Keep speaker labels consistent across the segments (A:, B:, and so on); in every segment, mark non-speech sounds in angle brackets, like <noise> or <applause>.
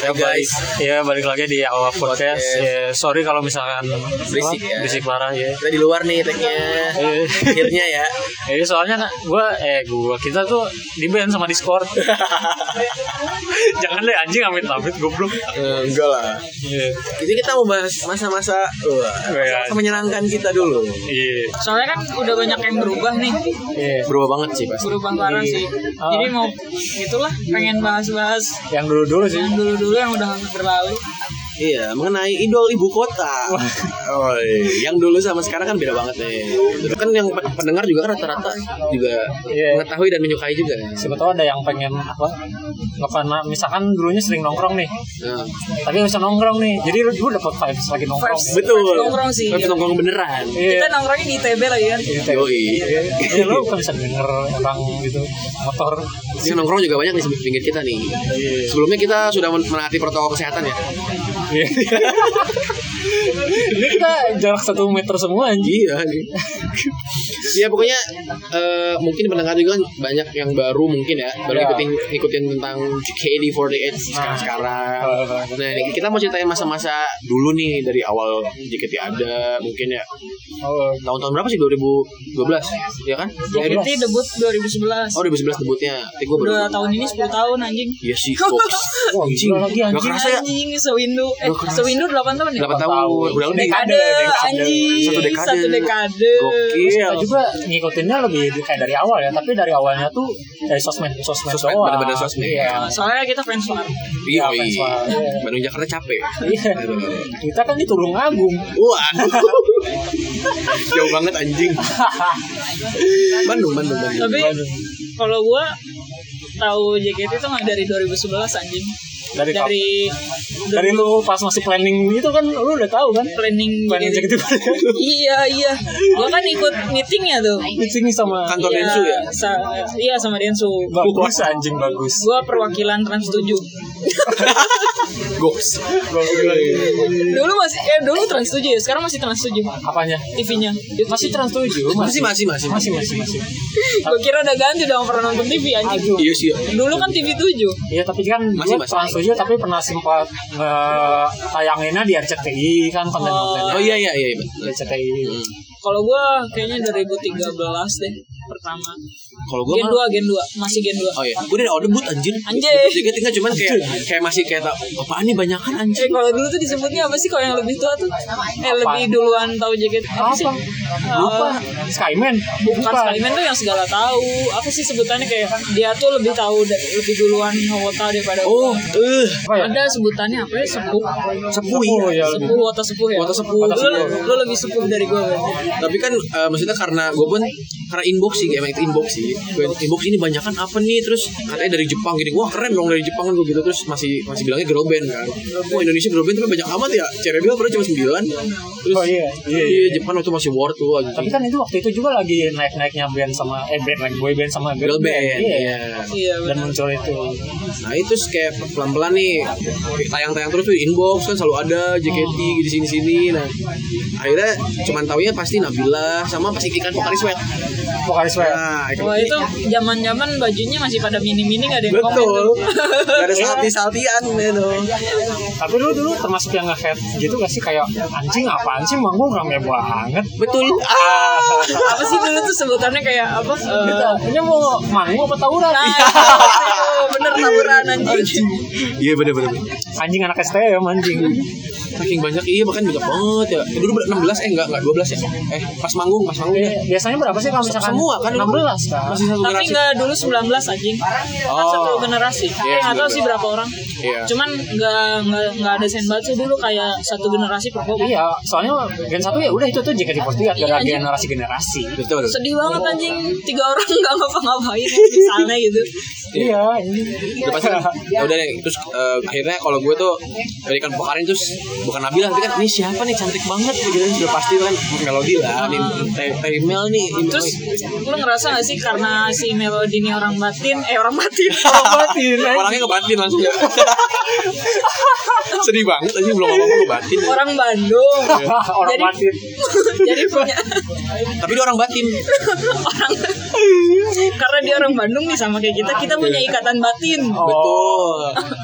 A: Ya guys,
B: ya balik lagi di awal podcast.
A: Podcast.
B: Ya, sorry kalau misalkan
A: Berisik
B: apa?
A: ya.
B: Berisik parah ya.
A: kita di luar nih tag-nya.
B: Eh.
A: Akhirnya
B: <laughs>
A: ya.
B: Jadi soalnya nggak- gua eh gua kita tuh di ban sama
A: <laughs>
B: Discord. Jangan deh anjing amit-amit goblok.
A: Eh, enggak lah.
B: Iya.
A: Jadi kita mau bahas masa-masa wah, masa-masa menyenangkan kita dulu.
B: Iya.
C: Soalnya kan udah banyak yang berubah nih,
B: Iya.
A: Berubah banget sih pasti.
C: berubah parah sih.
B: Ah.
C: Jadi mau itulah pengen bahas-bahas
B: Yang dulu dulu sih.
C: yang dulu-dulu yang udah berlalu.
A: Iya, mengenai idol ibu kota. Oi, yang dulu sama sekarang kan beda banget nih. Kan yang pen- pendengar juga kan rata-rata juga
B: Iya.
A: mengetahui dan menyukai juga.
B: Siapa tahu ada yang pengen apa? Ngefana, misalkan dulunya sering nongkrong nih,
A: Nah,
B: tapi nggak bisa nongkrong nih. Jadi lu dulu dapat vibes lagi nongkrong.
C: Vibes.
A: betul.
C: Nongkrong sih.
A: Tapi nongkrong beneran.
C: Kita nongkrongnya di ITB lagi kan.
A: Yoi.
B: Iya, lu kan bisa denger orang gitu motor.
A: Ini nongkrong juga banyak nih di pinggir kita nih. Sebelumnya kita sudah men- menaati protokol kesehatan ya.
B: Iya. Ini kita jarak satu meter semua anjing.
A: Iya nih. ya pokoknya eh, mungkin pendengar juga kan banyak yang baru mungkin ya baru
B: Ya.
A: ngikutin ngikutin tentang JKT48 sekarang sekarang.
B: Nah.
A: Nah ini kita mau ceritain masa-masa dulu nih dari awal JKT ada mungkin ya
B: Oh,
A: tahun-tahun berapa sih 2012 ya kan?
C: JKT debut 2011.
A: Oh 2011 debutnya. Tapi gue baru.
C: Udah tahun ini 10 tahun anjing.
A: Iya sih. Fox.
B: <laughs> Wah,
A: Anjing.
B: gila lagi,
A: Gak
B: anjing,
A: kerasa ya.
C: Anjing sewindu eh
A: Gak kerasa.
C: sewindu 8 tahun ya?
A: 8 tahun. Udah lebih.
C: Dekade anjing.
A: Satu dekade.
C: Satu dekade.
A: Gokil.
B: Kita Iya, juga ngikutinnya lebih kayak dari awal ya, tapi dari awalnya tuh dari sosmed, sosmed,
A: Sosmed,
B: doang.
A: bener-bener sosmed.
B: Iya.
C: Soalnya kita fans banget.
A: Iya,
B: Iya,
A: iya.
B: fans banget.
A: Bandung Jakarta capek.
B: Iya. Kita kan di Tulung Agung.
A: Waduh. <laughs> Jauh banget anjing. Bandung, Bandung, Bandung.
C: Tapi
B: Bandung.
C: kalau gua tahu JKT itu nggak dari 2011 anjing.
B: Dari kap-
C: dari
B: Dari lu pas masih planning gitu kan lu udah tahu kan
C: planning
B: planning
C: JKT.
B: gitu <laughs>
C: iya iya gua kan ikut meetingnya tuh
B: di sini sama
A: Kantor
C: Iya,
A: Densu ya.
C: sa- iya sama Densu
B: bagus anjing bagus.
C: <laughs> gua perwakilan trans 7
A: Goks.
C: dulu masih eh dulu trans 7 ya sekarang masih trans 7
B: Apanya? Ya,
C: TV-nya
B: Masih trans 7
A: Masih, masih, masih.
B: masih masih masih.
C: gua kira udah ganti dong pernah nonton TV anjing
A: Iya sih.
C: dulu kan TV 7
B: Iya tapi kan
A: Masih,
B: masih,
A: masih.
B: trans 7 tapi pernah sempat eh, tayanginnya di RCTI kan konten-kontennya
A: Oh iya iya iya.
B: di RCTI.
C: kalau gua kayaknya 2013 deh pertama
A: Kalau gue
C: gen 2 gen 2 masih gen 2
A: Oh iya, gue dari order but anjir.
C: Anjing.
A: Jadi tinggal cuman kayak kayak masih kayak tak apaan nih kan? banyakan
C: Eh
A: anjing.
C: kalau dulu tuh disebutnya apa sih kalau yang lebih tua tuh? Eh lebih duluan tahu jaket apa, sih? Eh,
B: Apa? Apa? Skyman?
C: Oh. Bukan Skyman tuh yang segala tahu. Apa sih sebutannya kayak dia tuh lebih tahu da- lebih duluan Howota daripada
A: Oh,
C: gua.
A: eh,
B: Apa ya?
C: Ada sebutannya apa ya? Sepuh.
A: sepuh
B: Oh,
A: ya.
B: iya, lebih.
C: Sepuh Wota sepuh ya.
A: Wota sepuh.
C: Lu,
B: Wota sepuh.
C: lu lebih sepuh dari gua. berarti.
A: Tapi kan eh, maksudnya karena gue pun karena inbox sih, emang itu inbox sih. Gua, Inbox ini banyakan apa nih? Terus katanya dari Jepang gini, wah keren dong dari Jepang kan gue gitu. Terus masih masih bilangnya girl band kan. Wah Indonesia girl band tapi banyak amat ya. Cerebiel pernah cuma 9 Terus
B: Oh, iya. Iya, iya.
A: Jepang waktu masih war tuh anjing.
B: Tapi kan itu waktu itu juga lagi naik-naiknya band sama eh band lagi boy band sama
A: girl band.
B: Iya.
A: Iya.
C: Iya.
B: Dan
C: benar.
B: muncul itu.
A: Nah itu terus kayak pelan-pelan nih tayang-tayang terus tuh di inbox kan selalu ada JKT
C: Oh.
A: di sini-sini. Nah akhirnya cuman taunya pasti Nabila sama pasti ikan vokalis wet.
B: Vokalis Wet.
A: Nah, Ikan-
C: Wah itu zaman-zaman bajunya masih pada mini-mini gak ada yang komen
A: betul.
C: tuh. <laughs>
A: Gak ada
C: Iya.
A: salti-saltian gitu.
B: Tapi lu dulu termasuk yang nge-head gitu gak sih kayak anjing apaan sih manggung rame banget.
A: <laughs> Betul.
B: Ah.
C: apa sih dulu tuh sebutannya kayak apa? Eh,
B: Gitu. Ini mau manggung apa tawuran?
C: nah, bener taburan anjing.
A: Iya bener-bener.
B: Anjing anak STM anjing.
A: Saking banyak iya bahkan banyak banget ya. Eh, Dulu ber- 16 eh enggak enggak 12 ya. Eh pas manggung pas manggung ya.
B: Biasanya berapa sih kalau misalkan?
A: Semua kan?
B: 16 kan.
A: Masih satu
C: Tapi
A: generasi.
C: enggak dulu 19 anjing. Kan
A: Oh.
C: satu generasi.
A: Iya,
C: eh enggak tahu
A: 19.
C: sih berapa orang.
A: Iya.
C: Cuman enggak enggak enggak ada senbatsu dulu kayak satu generasi per kelompok.
B: Iya, soalnya gen satu ya udah itu tuh jika dipostingat gara
C: anjing.
B: generasi generasi.
A: Betul.
C: Sedih banget anjing, tiga orang <laughs> enggak ngapa-ngapain misalnya gitu.
B: Iya.
A: Udah pasti kan
C: <laughs>
A: ya udah deh terus eh, akhirnya kalau gue tuh berikan pokarin terus bukan Nabila tapi kan ini siapa nih cantik banget gitu kan sudah pasti kan melodi lah ini Te- Temel nih ini-
C: Terus lu ngerasa gak sih karena si Melody ini orang
A: <laughs>
C: batin, eh orang batin.
B: Obatin, anjing.
A: orangnya ngebatin langsung ya <laughs> Sedih banget aja belum ngomong ngebatin.
C: orang Bandung <laughs>
B: orang
C: Jadi-
B: batin
C: jadi punya
A: Tapi dia orang batin.
C: orang karena dia orang Bandung nih sama kayak kita kita punya ikatan batin
A: Betul. Iya. Oh.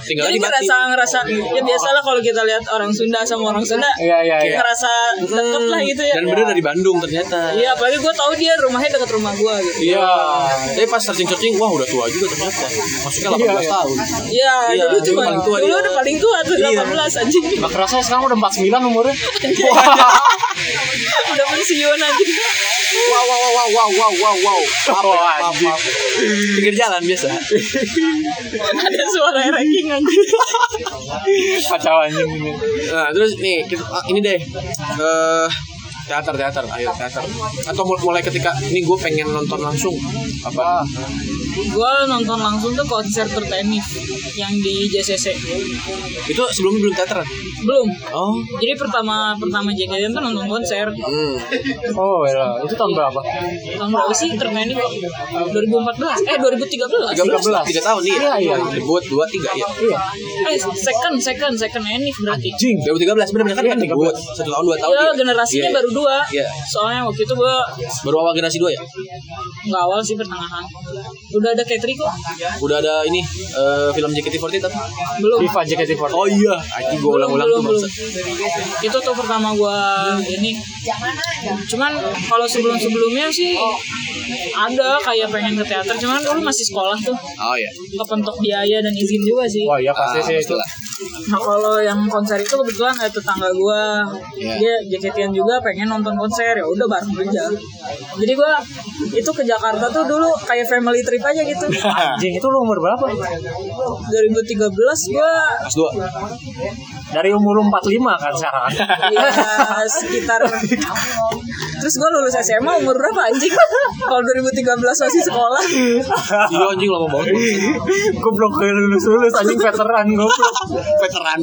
A: Tinggal
C: Oh. jadi
A: di batin.
C: ngerasa ngerasa ya biasalah kalau kita lihat orang Sunda sama orang Sunda
B: iya iya iya
C: ngerasa deket lah gitu ya
A: Dan bener dari Bandung ternyata.
C: Iya, apalagi gue tahu dia rumahnya deket rumah gue gitu.
A: Iya. Tapi pas searching-searching, wah udah tua juga ternyata. Masuknya 18
B: Iya, iya.
A: tahun.
C: Iya,
A: Iya,
C: dulu
A: dulu
C: cuma
A: paling tua
C: dulu
A: dia.
C: udah paling tua tuh
A: Iya.
C: 18 anjing. <laughs>
B: Gak kerasa ya, sekarang udah 49 umurnya
C: udah pensiun anjing. <laughs>
A: Wow, wow, wow, wow, wow, wow, wow. Maaf, ya,
B: Wah,
A: maaf,
B: anjing.
A: maaf. Pinggir jalan biasa.
C: Ada suara ranking anjing.
B: Kacau anjing ini
A: Nah, terus nih, kita- ah, ini deh. Eh, teater, teater, ayo teater. Atau mul- mulai ketika ini gue pengen nonton langsung apa?
C: gue nonton langsung tuh konser tertenis yang di JCC.
A: Itu sebelumnya belum teater.
C: Belum.
A: Oh.
C: Jadi pertama pertama JKT tuh nonton konser.
A: Hmm.
B: Oh iya, itu tahun berapa?
C: Tahun berapa sih tertenis kok? 2014. Eh
A: 13, 3
C: 2013.
A: tahun nih.
B: Iya, iya.
A: Buat 2 3 ya.
B: Iya,
C: Eh second second second enif berarti.
B: jing
A: 2013 benar-benar kan
B: Iya,
A: kan
B: 13.
A: buat satu tahun 2 tahun.
C: Iya
A: iya.
C: generasinya
A: Iya,
C: baru dua.
A: Iya.
C: Soalnya waktu itu gue
A: Baru awal generasi 2 ya?
C: nggak awal sih pertengahan. Udah ada Katri kok.
A: Udah ada ini eh, film JKT48 tapi
C: Belum.
B: FIFA JKT48
A: Oh iya, anjing gue ulang-ulang tuh
C: belum, belum.
A: bangsa.
C: Itu tuh pertama gua ini. Cuman kalau sebelum-sebelumnya sih ada kayak pengen ke teater, cuman dulu masih sekolah tuh.
A: Oh iya.
C: Kepentok biaya dan izin juga sih.
B: Wah iya pasti
A: Ah,
B: sih itu <laughs>
A: lah.
C: Nah kalau yang konser itu kebetulan ada tetangga gua
A: Iya.
C: dia jaketian juga pengen nonton konser ya udah bareng aja. Jadi gua itu ke Jakarta tuh dulu kayak family trip aja
A: <laughs>
C: gitu.
B: Anjing itu lu umur berapa?
C: 2013 gua
A: Kelas 2.
B: Dari umur lu 45 kan sekarang
C: ya sekitar terus gue lulus SMA umur berapa anjing kalau 2013 masih sekolah
A: Iya anjing lama banget.
B: <laughs> <laughs> Goblok kayak lulus-lulus anjing veteran goblok
A: veteran.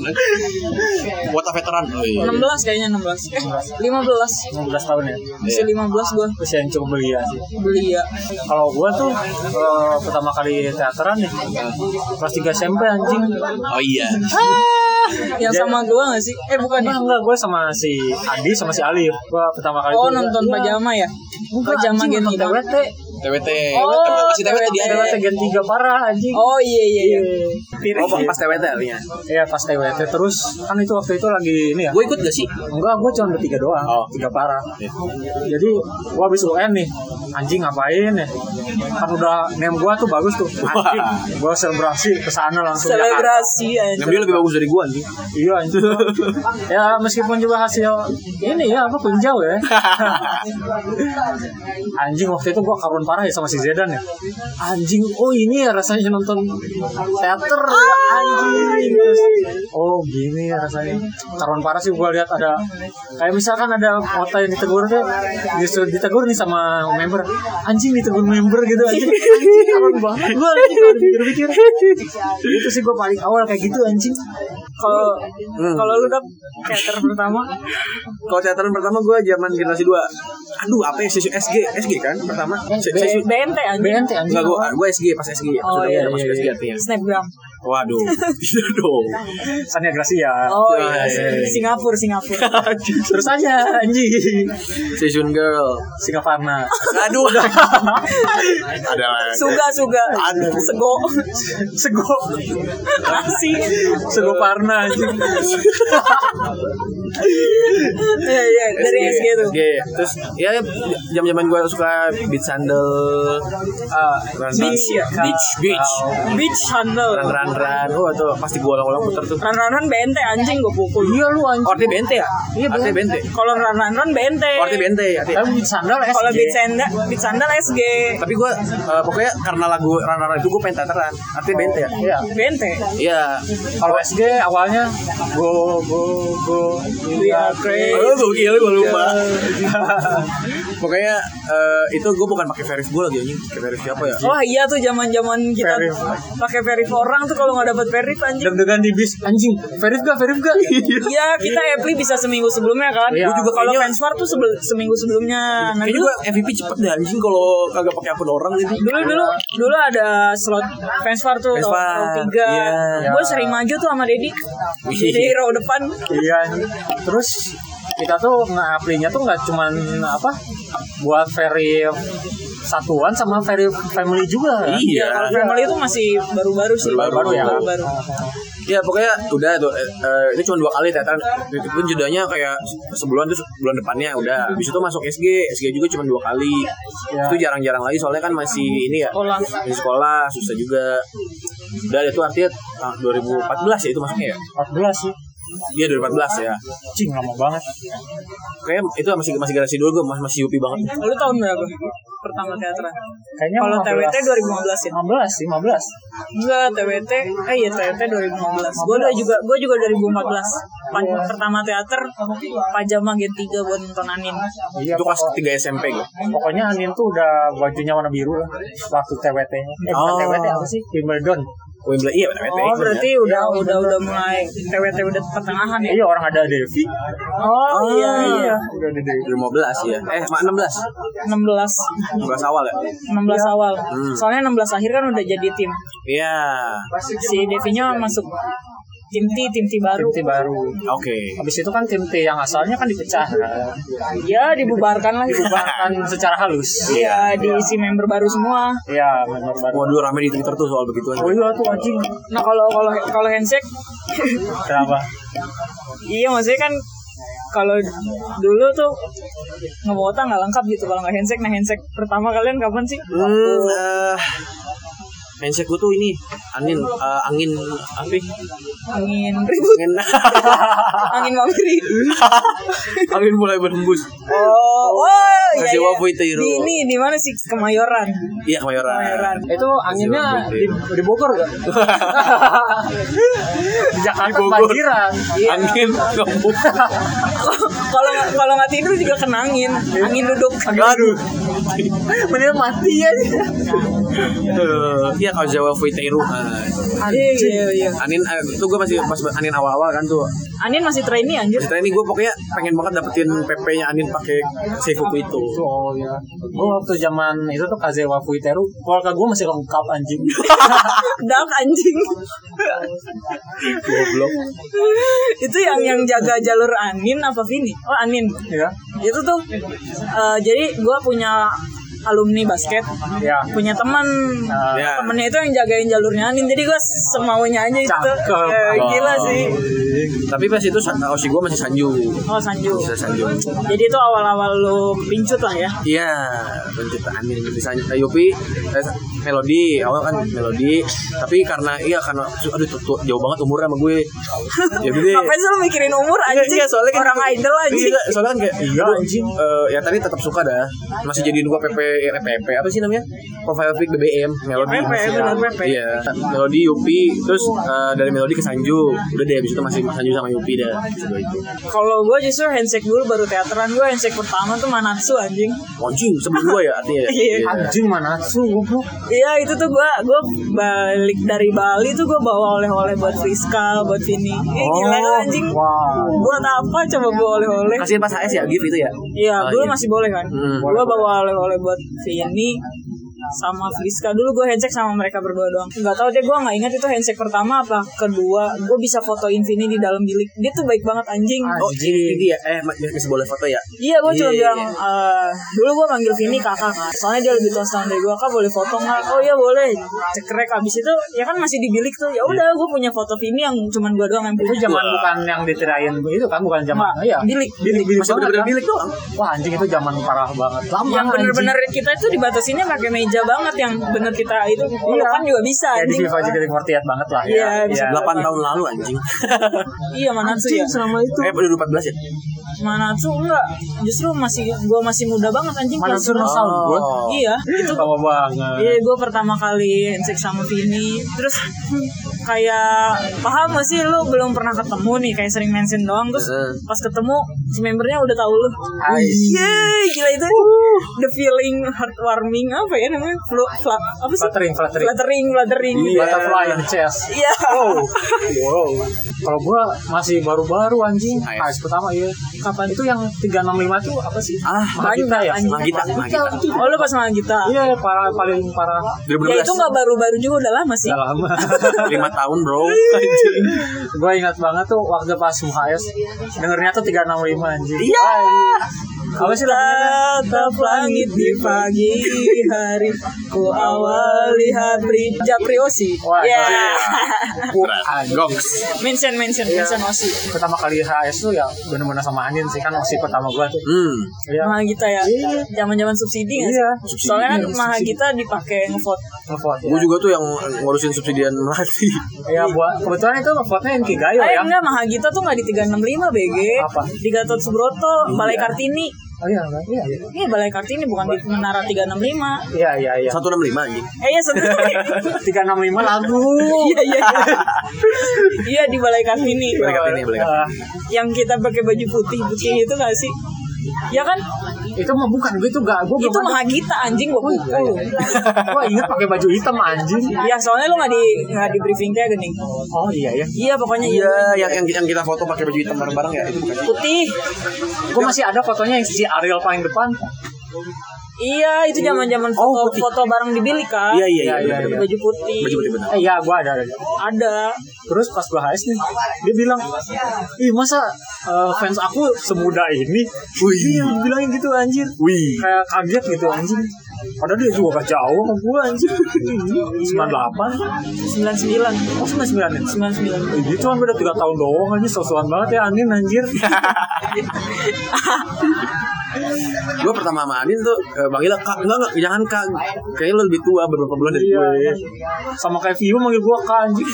A: Kuota veteran. Oh, iya.
C: 16 kayaknya 16 eh 15
B: 15 tahun ya
C: masih 15 gue
B: Terus yang cukup belia sih
C: beli ya
B: Kalau gua tuh eh, pertama kali teateran nih Kelas 3 SMP anjing
A: Oh iya.
C: yang
B: Dia-
C: sama gue gak sih eh bukan ya
B: Enggak, enggak, gue sama si Adi sama si Alif Gue pertama kali
C: oh
B: tuh-
C: nonton
B: Iya.
C: pajama ya
B: Enggak,
C: pajama
B: anjing,
C: gen
B: nonton
C: hitam
B: TWT
A: TWT.
C: Oh,
A: Tapi Masih TWT dia.
B: TWT
C: TWT.
B: gen 3 parah anjing
C: oh iya iya iya
A: Oh,
B: Piring sih.
A: pas TWT ya.
B: Iya pas TWT terus kan itu waktu itu lagi ini ya.
A: Gue ikut gak sih?
B: Enggak, gue cuma bertiga doang,
A: Oh.
B: tiga parah.
A: Iya.
B: Jadi gue habis UN nih, anjing ngapain ya? Kan udah name gue tuh bagus tuh, anjing. Gue selebrasi kesana langsung.
C: selebrasi
A: Nah,
C: anjing
A: dia lebih bagus dari gue anjing.
B: Iya anjing. <laughs> ya meskipun juga hasil ini ya apa penjau <laughs> ya. anjing waktu itu gua karun parah ya sama si Zedan ya. Anjing, oh ini ya rasanya nonton teater ya anjing. Terus, oh gini ya rasanya. Karun parah sih gua lihat ada kayak misalkan ada kota yang ditegur tuh justru ditegur nih sama member. Anjing ditegur member gitu <laughs> anjing. Anjing karun banget gua anjing kalau dipikir-pikir. Itu sih gua paling awal kayak gitu anjing.
C: kalau kalau lu dap teater pertama
A: Kalau teateran pertama gue zaman generasi 2. Aduh, apa ya? Sesi SG, SG kan pertama.
B: Eh,
A: Sesi
C: eh, B- BNT anjing
B: BNT anjing.
A: Enggak, gue gue SG pas SG. Pas
C: Oh,
A: udah
C: iya,
A: udah masuk
B: iya,
A: SG
B: iya.
A: artinya.
C: snapgram
A: Waduh, <laughs> tidak dong.
B: Sania Gracia.
C: oh
A: Iya,
C: iya
A: iya, iya.
C: Singapura Singapura
B: Terus aja anjing.
A: Session girl.
B: Singaparna.
A: Aduh, udah. Ada lagi.
C: Suga Suga Sego
B: Sego
C: Asik
B: Sego Parna anjing.
C: <laughs> Iya, iya, dari SG tuh.
A: SG. Terus ya jam-jaman gue suka beach sandal, ah, run,
C: Beach ya?
A: beach, beach,
C: Beach handle.
A: run run run. Oh tuh pasti gue ulang-ulang puter tuh.
C: Ran ran ran BNT anjing gue pukul.
B: Iya lu anjing.
A: Orte bente ya?
B: Iya,
A: Orte bente.
C: Kalau ran ran ran BNT.
A: Orte bente ya. Orte-
B: Tapi sandal SG.
C: Kalau beach sandal, beach sandal SG.
A: Tapi gue pokoknya karena lagu run run Run itu gue pengen teateran. Artinya bente ya.
B: Iya.
C: BNT.
A: Iya.
B: Kalau SG awalnya go go go we are
A: Oh,
B: crazy. Iya.
A: gokil gue lupa. <laughs> Pokoknya eh, itu gue bukan pakai verif gue lagi anjing, pakai verif siapa ya?
C: Wah iya tuh zaman zaman kita
B: Verif.
C: pakai verif orang tuh kalau nggak dapat verif anjing.
B: Deg-degan di bis anjing. Verif gak? Verif
A: <laughs>
B: gak?
C: Iya kita Apply bisa seminggu sebelumnya kan.
B: Iya.
C: Gua juga kalau
A: Kayaknya-
C: Fansmart tuh sebel- seminggu sebelumnya. Nah,
A: Kayaknya
C: dulu
A: gue MVP cepet deh anjing kalau kagak pakai akun orang gitu.
C: dulu dulu dulu ada slot Fansmart tuh row-
A: Fansmart,
C: row tiga.
A: iya.
C: Gue sering maju tuh sama Dedi. Jadi row depan.
B: Iya. anjing. Terus kita tuh nge-apply-nya tuh nggak cuman apa buat verif satuan sama verif family juga. kan?
A: Iya.
C: Kalau family itu masih baru-baru sih.
A: Baru-baru ya.
C: Baru-baru.
A: Ya pokoknya udah tuh eh, eh, itu cuma dua kali teater itu pun jedanya kayak sebulan terus bulan depannya udah habis itu masuk SG SG juga cuma dua kali
B: Ya.
A: itu jarang-jarang lagi soalnya kan masih ini ya
C: Sekolah.
A: masih Iya. sekolah susah juga udah itu artinya ah, 2014 ya itu masuknya ya
B: 14 sih.
A: iya 2014 ya
B: Cing lama banget.
A: kayak itu masih masih garasi dulu gue masih masih yupi banget
C: Lu tahun berapa? Pertama teateran.
B: Kayaknya
C: Kalau
B: 15.
C: TWT 2015 ya.
B: 15 sih, 15.
C: Enggak, TWT. Eh iya, TWT 2015. Gue juga gua juga 2014. Pan- Pertama teater pajama Gen 3 buat nonton Anin.
B: Iya,
A: itu kelas
B: pokok-
A: 3 SMP gue
B: Pokoknya Anin tuh udah bajunya warna biru lah waktu TWT-nya. Eh, bukan
A: Oh.
B: TWT apa sih? Wimbledon.
A: gue bilang iya PT
C: Oh, berarti udah udah udah mulai TWT udah pertengahan ya.
B: Iya, orang ada Devi.
C: Oh iya
A: Ah.
C: iya.
B: Udah ada Devi.
A: 2015 ya eh mak 16
C: 16 16
A: 16 awal ya
C: awal.
A: Hmm.
C: Soalnya 16 akhir kan udah jadi tim.
A: iya
C: Si Devinya masuk tim T, tim T baru.
B: Tim baru.
A: oke
B: Habis itu kan tim T yang asalnya kan dipecah. kan?
C: Ya, dibubarkan lah <laughs> dibubarkan.
A: <laughs>
B: Bahkan secara halus.
C: Iya, diisi member baru semua.
B: Iya, member baru.
A: Wah dulu rame di Twitter tuh soal begituan.
B: Oh iya tuh anjing.
C: Nah, kalau kalau kalau handshake <laughs>
B: Kenapa?
C: Iya maksudnya kan kalau dulu tuh ngebota nggak lengkap gitu kalau nggak handshake nah handshake pertama kalian kapan sih?
A: Hmm, eh handshake gue tuh ini angin eh, angin apa? ya?
C: Angin ribut,
A: Angin
C: <laughs> angin mamiri.
A: angin mulai berhembus.
C: Oh, wah, iya,
A: Kasih
C: iya.
A: wapu itu, Iro.
C: Di ini di mana sih Kemayoran?
A: Iya kemayoran.
C: Kemayoran.
B: Itu anginnya
A: Iya,
B: di, <laughs> di Bogor
A: <laughs>
B: gak? di Jakarta
A: Bogor.
B: kebanjiran.
C: Iya.
B: <laughs>
A: Angin ngembus.
C: kalau nggak kalau nggak tidur juga kenangin, angin duduk.
A: Aduh.
B: Mendingan mati
C: ya
B: aja.
A: Eh, Iya kalau Jawa nah. Fuiteru.
C: Iya iya iya.
A: Angin eh, itu gue masih pas angin awal-awal kan tuh.
C: Angin masih trainee anjir.
A: Cerita ini gue pokoknya pengen banget dapetin PP-nya angin pakai Seifuku itu.
B: Oh ya. Gue waktu zaman itu tuh Kazewa Fuiteru, keluarga gue masih lengkap
C: <laughs>
B: anjing.
C: Dark anjing.
A: Goblok.
C: Itu yang yang jaga jalur angin apa Vini? Oh, angin.
B: ya.
C: itu tuh eh, jadi gue punya alumni basket
B: Ya.
C: punya teman Iya.
B: Nah,
A: Ya.
C: temennya itu yang jagain jalurnya Anin jadi gue semaunya aja itu
B: Cakep.
C: Eh, gila sih
A: Tapi pas itu san- Oshi gue masih Sanju.
C: oh Sanju
A: Masih Sanju.
C: jadi itu awal-awal lu pincut lah ya
A: Iya, penciptaan yang misalnya Yopi eh, melodi awal kan melodi, tapi karena iya karena aduh tuh, tuh, jauh banget umurnya sama gue. Ya udah deh.
C: ngapain sih lu mikirin umur anjing
A: Iya, soalnya kan
C: orang idol anjing
A: Iya, soalnya kan kayak iya anjing. Eh, ya tadi tetap suka dah. Masih jadiin gua PP eh, PP apa sih namanya? Profile pic BBM, melodi.
C: PP,
A: masih
C: bener,
A: kan.
C: PP.
A: Iya, melodi Yopi terus eh, dari melodi ke Sanju. Udah deh habis itu masih Sanju sama Yopi dah. Gitu, Dua itu.
C: kalau gue justru handshake dulu baru teateran gue handshake pertama tuh Manatsu anjing
A: Anjing sebelum gua ya artinya. ya?
C: Iya.
B: Anjing mana su goblok.
C: Iya itu tuh gue gue balik dari Bali tuh gue bawa oleh-oleh buat Friska buat Vini. Eh, gila lu
A: Oh.
C: anjing.
B: Oh, Wah.
C: Buat apa coba bawa oleh-oleh?
A: Kasihan pas HS ya, gift itu ya.
C: Iya,
A: Oh,
C: dulu
A: iya.
C: masih boleh kan.
A: Hmm.
C: Gue bawa oleh-oleh buat Vini sama Friska dulu gue handshake sama mereka berdua doang nggak tahu deh gue nggak ingat itu handshake pertama apa kedua gue bisa fotoin Vini di dalam bilik dia tuh baik banget anjing
B: Ah.
A: Oh ini dia, eh masih boleh foto ya?
C: Iya gue cuma
A: Iya.
C: bilang eh, Dulu gue manggil Vini kakak kan Soalnya dia lebih tua setahun dari gue Kak boleh foto nggak? Oh iya boleh Cekrek abis itu Ya kan masih di bilik
A: Iya.
C: tuh Ya udah gue punya foto Vini yang cuman gue doang yang
B: Itu
C: punya
B: zaman bukan yang ditirain itu kan bukan zaman.
C: Nggak,
B: Iya.
C: bilik.
B: bilik bilik
A: Masih
B: banget,
A: bener-bener
B: kan?
A: bilik doang.
B: Wah anjing itu zaman parah banget. Lama
C: yang
B: anjing.
C: bener-bener kita itu dibatasinnya pakai meja banget yang bener kita itu
B: Iya.
C: kan juga bisa
B: Ya di
C: anjing.
B: FIFA juga di banget lah ya.
C: Iya, bisa
B: Iya.
A: 8 tahun lalu anjing.
C: iya mana tuh ya
B: selama itu.
A: Eh, udah 14 ya?
C: Manatsu enggak justru masih gue masih muda banget anjing kelas
B: Manatsu
C: 11.
B: Masal gue
C: iya itu
B: Lama banget
C: Iya gue pertama kali handshake sama Vini Terus kayak paham gak sih lu belum pernah ketemu nih Kayak sering mention doang Terus
B: Iya.
D: Heeh.
C: pas ketemu si membernya udah tahu lu
D: Ais.
C: Yeay gila itu The feeling heartwarming apa ya namanya Flu, fla- apa sih?
B: Fluttering, fluttering.
C: Fluttering, fluttering.
D: Iya.
B: Butterfly Oh. in chest
C: Iya
B: Wow Wow Kalau gue masih baru-baru anjing AS pertama iya Kapan itu yang 365 itu apa sih?
D: Ah,
B: Mahagita ya?
C: anjing.
D: Mahagita, Mahagita.
C: Oh lu pas sama kita
B: Iya parah, paling parah
C: Ya itu
D: 2012.
C: gak baru-baru juga udah lama sih
B: Udah lama <laughs>
D: 5 tahun, Bro.
B: Gue ingat banget tuh waktu pas MHS Dengernya tuh 365 anjing
D: Iya.
B: Apa sih lagunya?
C: Tatap langit di pagi hari Ku awali hari Japri Osi
B: Wah,
C: Yeah. <laughs>
D: Goks.
C: Mention, mention,
B: Iya.
C: mention Osi
B: pertama kali HS tuh ya bener-bener sama Anin sih kan masih pertama gua tuh
D: Hmm.
B: Iya.
C: Mahal kita ya Zaman-zaman subsidi nggak sih?
B: Iya.
C: Soalnya kan mahal kita dipakai ngevote
B: ngevote ya.
D: Gue juga tuh yang ngurusin subsidian melati.
B: ya buat kebetulan itu ngevote-nya yang Kigayo
C: Eh
B: ya
C: enggak, mahal kita tuh nggak di 365 BG
B: Apa? Iya.
C: Di Gatot Subroto, Balai Kartini
B: oh iya iya iya
C: Ini Balai Kartini bukan di Menara 365
B: iya iya iya
D: 165 anjing.
C: Eh iya
B: <laughs>
C: sebenernya
B: 365 lagu
C: Iya, iya, iya Iya di Balai Kartini
D: Balai Kartini, Balai Kartini.
B: Eh,
C: yang kita pakai baju putih putih itu gak sih ya kan
B: itu mah bukan gue itu gak gue
C: itu
B: belum
C: mah kita anjing gua pukul
B: gue inget pakai baju hitam anjing
C: ya soalnya lu nggak di nggak di briefing kayak gini
B: oh iya ya
C: iya pokoknya iya
D: Iya, yang, yang yang kita foto pakai baju hitam bareng-bareng ya itu bukan sih?
C: putih
B: gue masih ada fotonya yang si Ariel paling depan
C: iya itu zaman zaman foto foto bareng di bilik kan
D: Oh, Iya, iya, iya,
B: Iya,
D: benar,
B: iya,
D: benar.
C: baju putih
D: Baju putih benar.
B: eh iya gue ada, ada ada.
C: ada
B: terus pas gue HS nih dia bilang ih masa eh, fans aku semuda ini
D: Wih.
B: iya bilangin gitu anjir
D: Wih.
B: kayak kaget gitu anjing padahal dia juga gak jauh sama gue anjir 98
C: sembilan sembilan
B: oh 99 ya
C: sembilan sembilan
B: Eh, dia cuma beda 3 tahun doang anjir sosokan banget ya Anin
D: <laughs>
B: anjir
D: Gue pertama sama Anin tuh eh, manggilnya kak, enggak enggak jangan kak. Kayaknya lo lebih tua beberapa bulan dari gue.
B: Iya. sama kayak Vio manggil gue kan anjir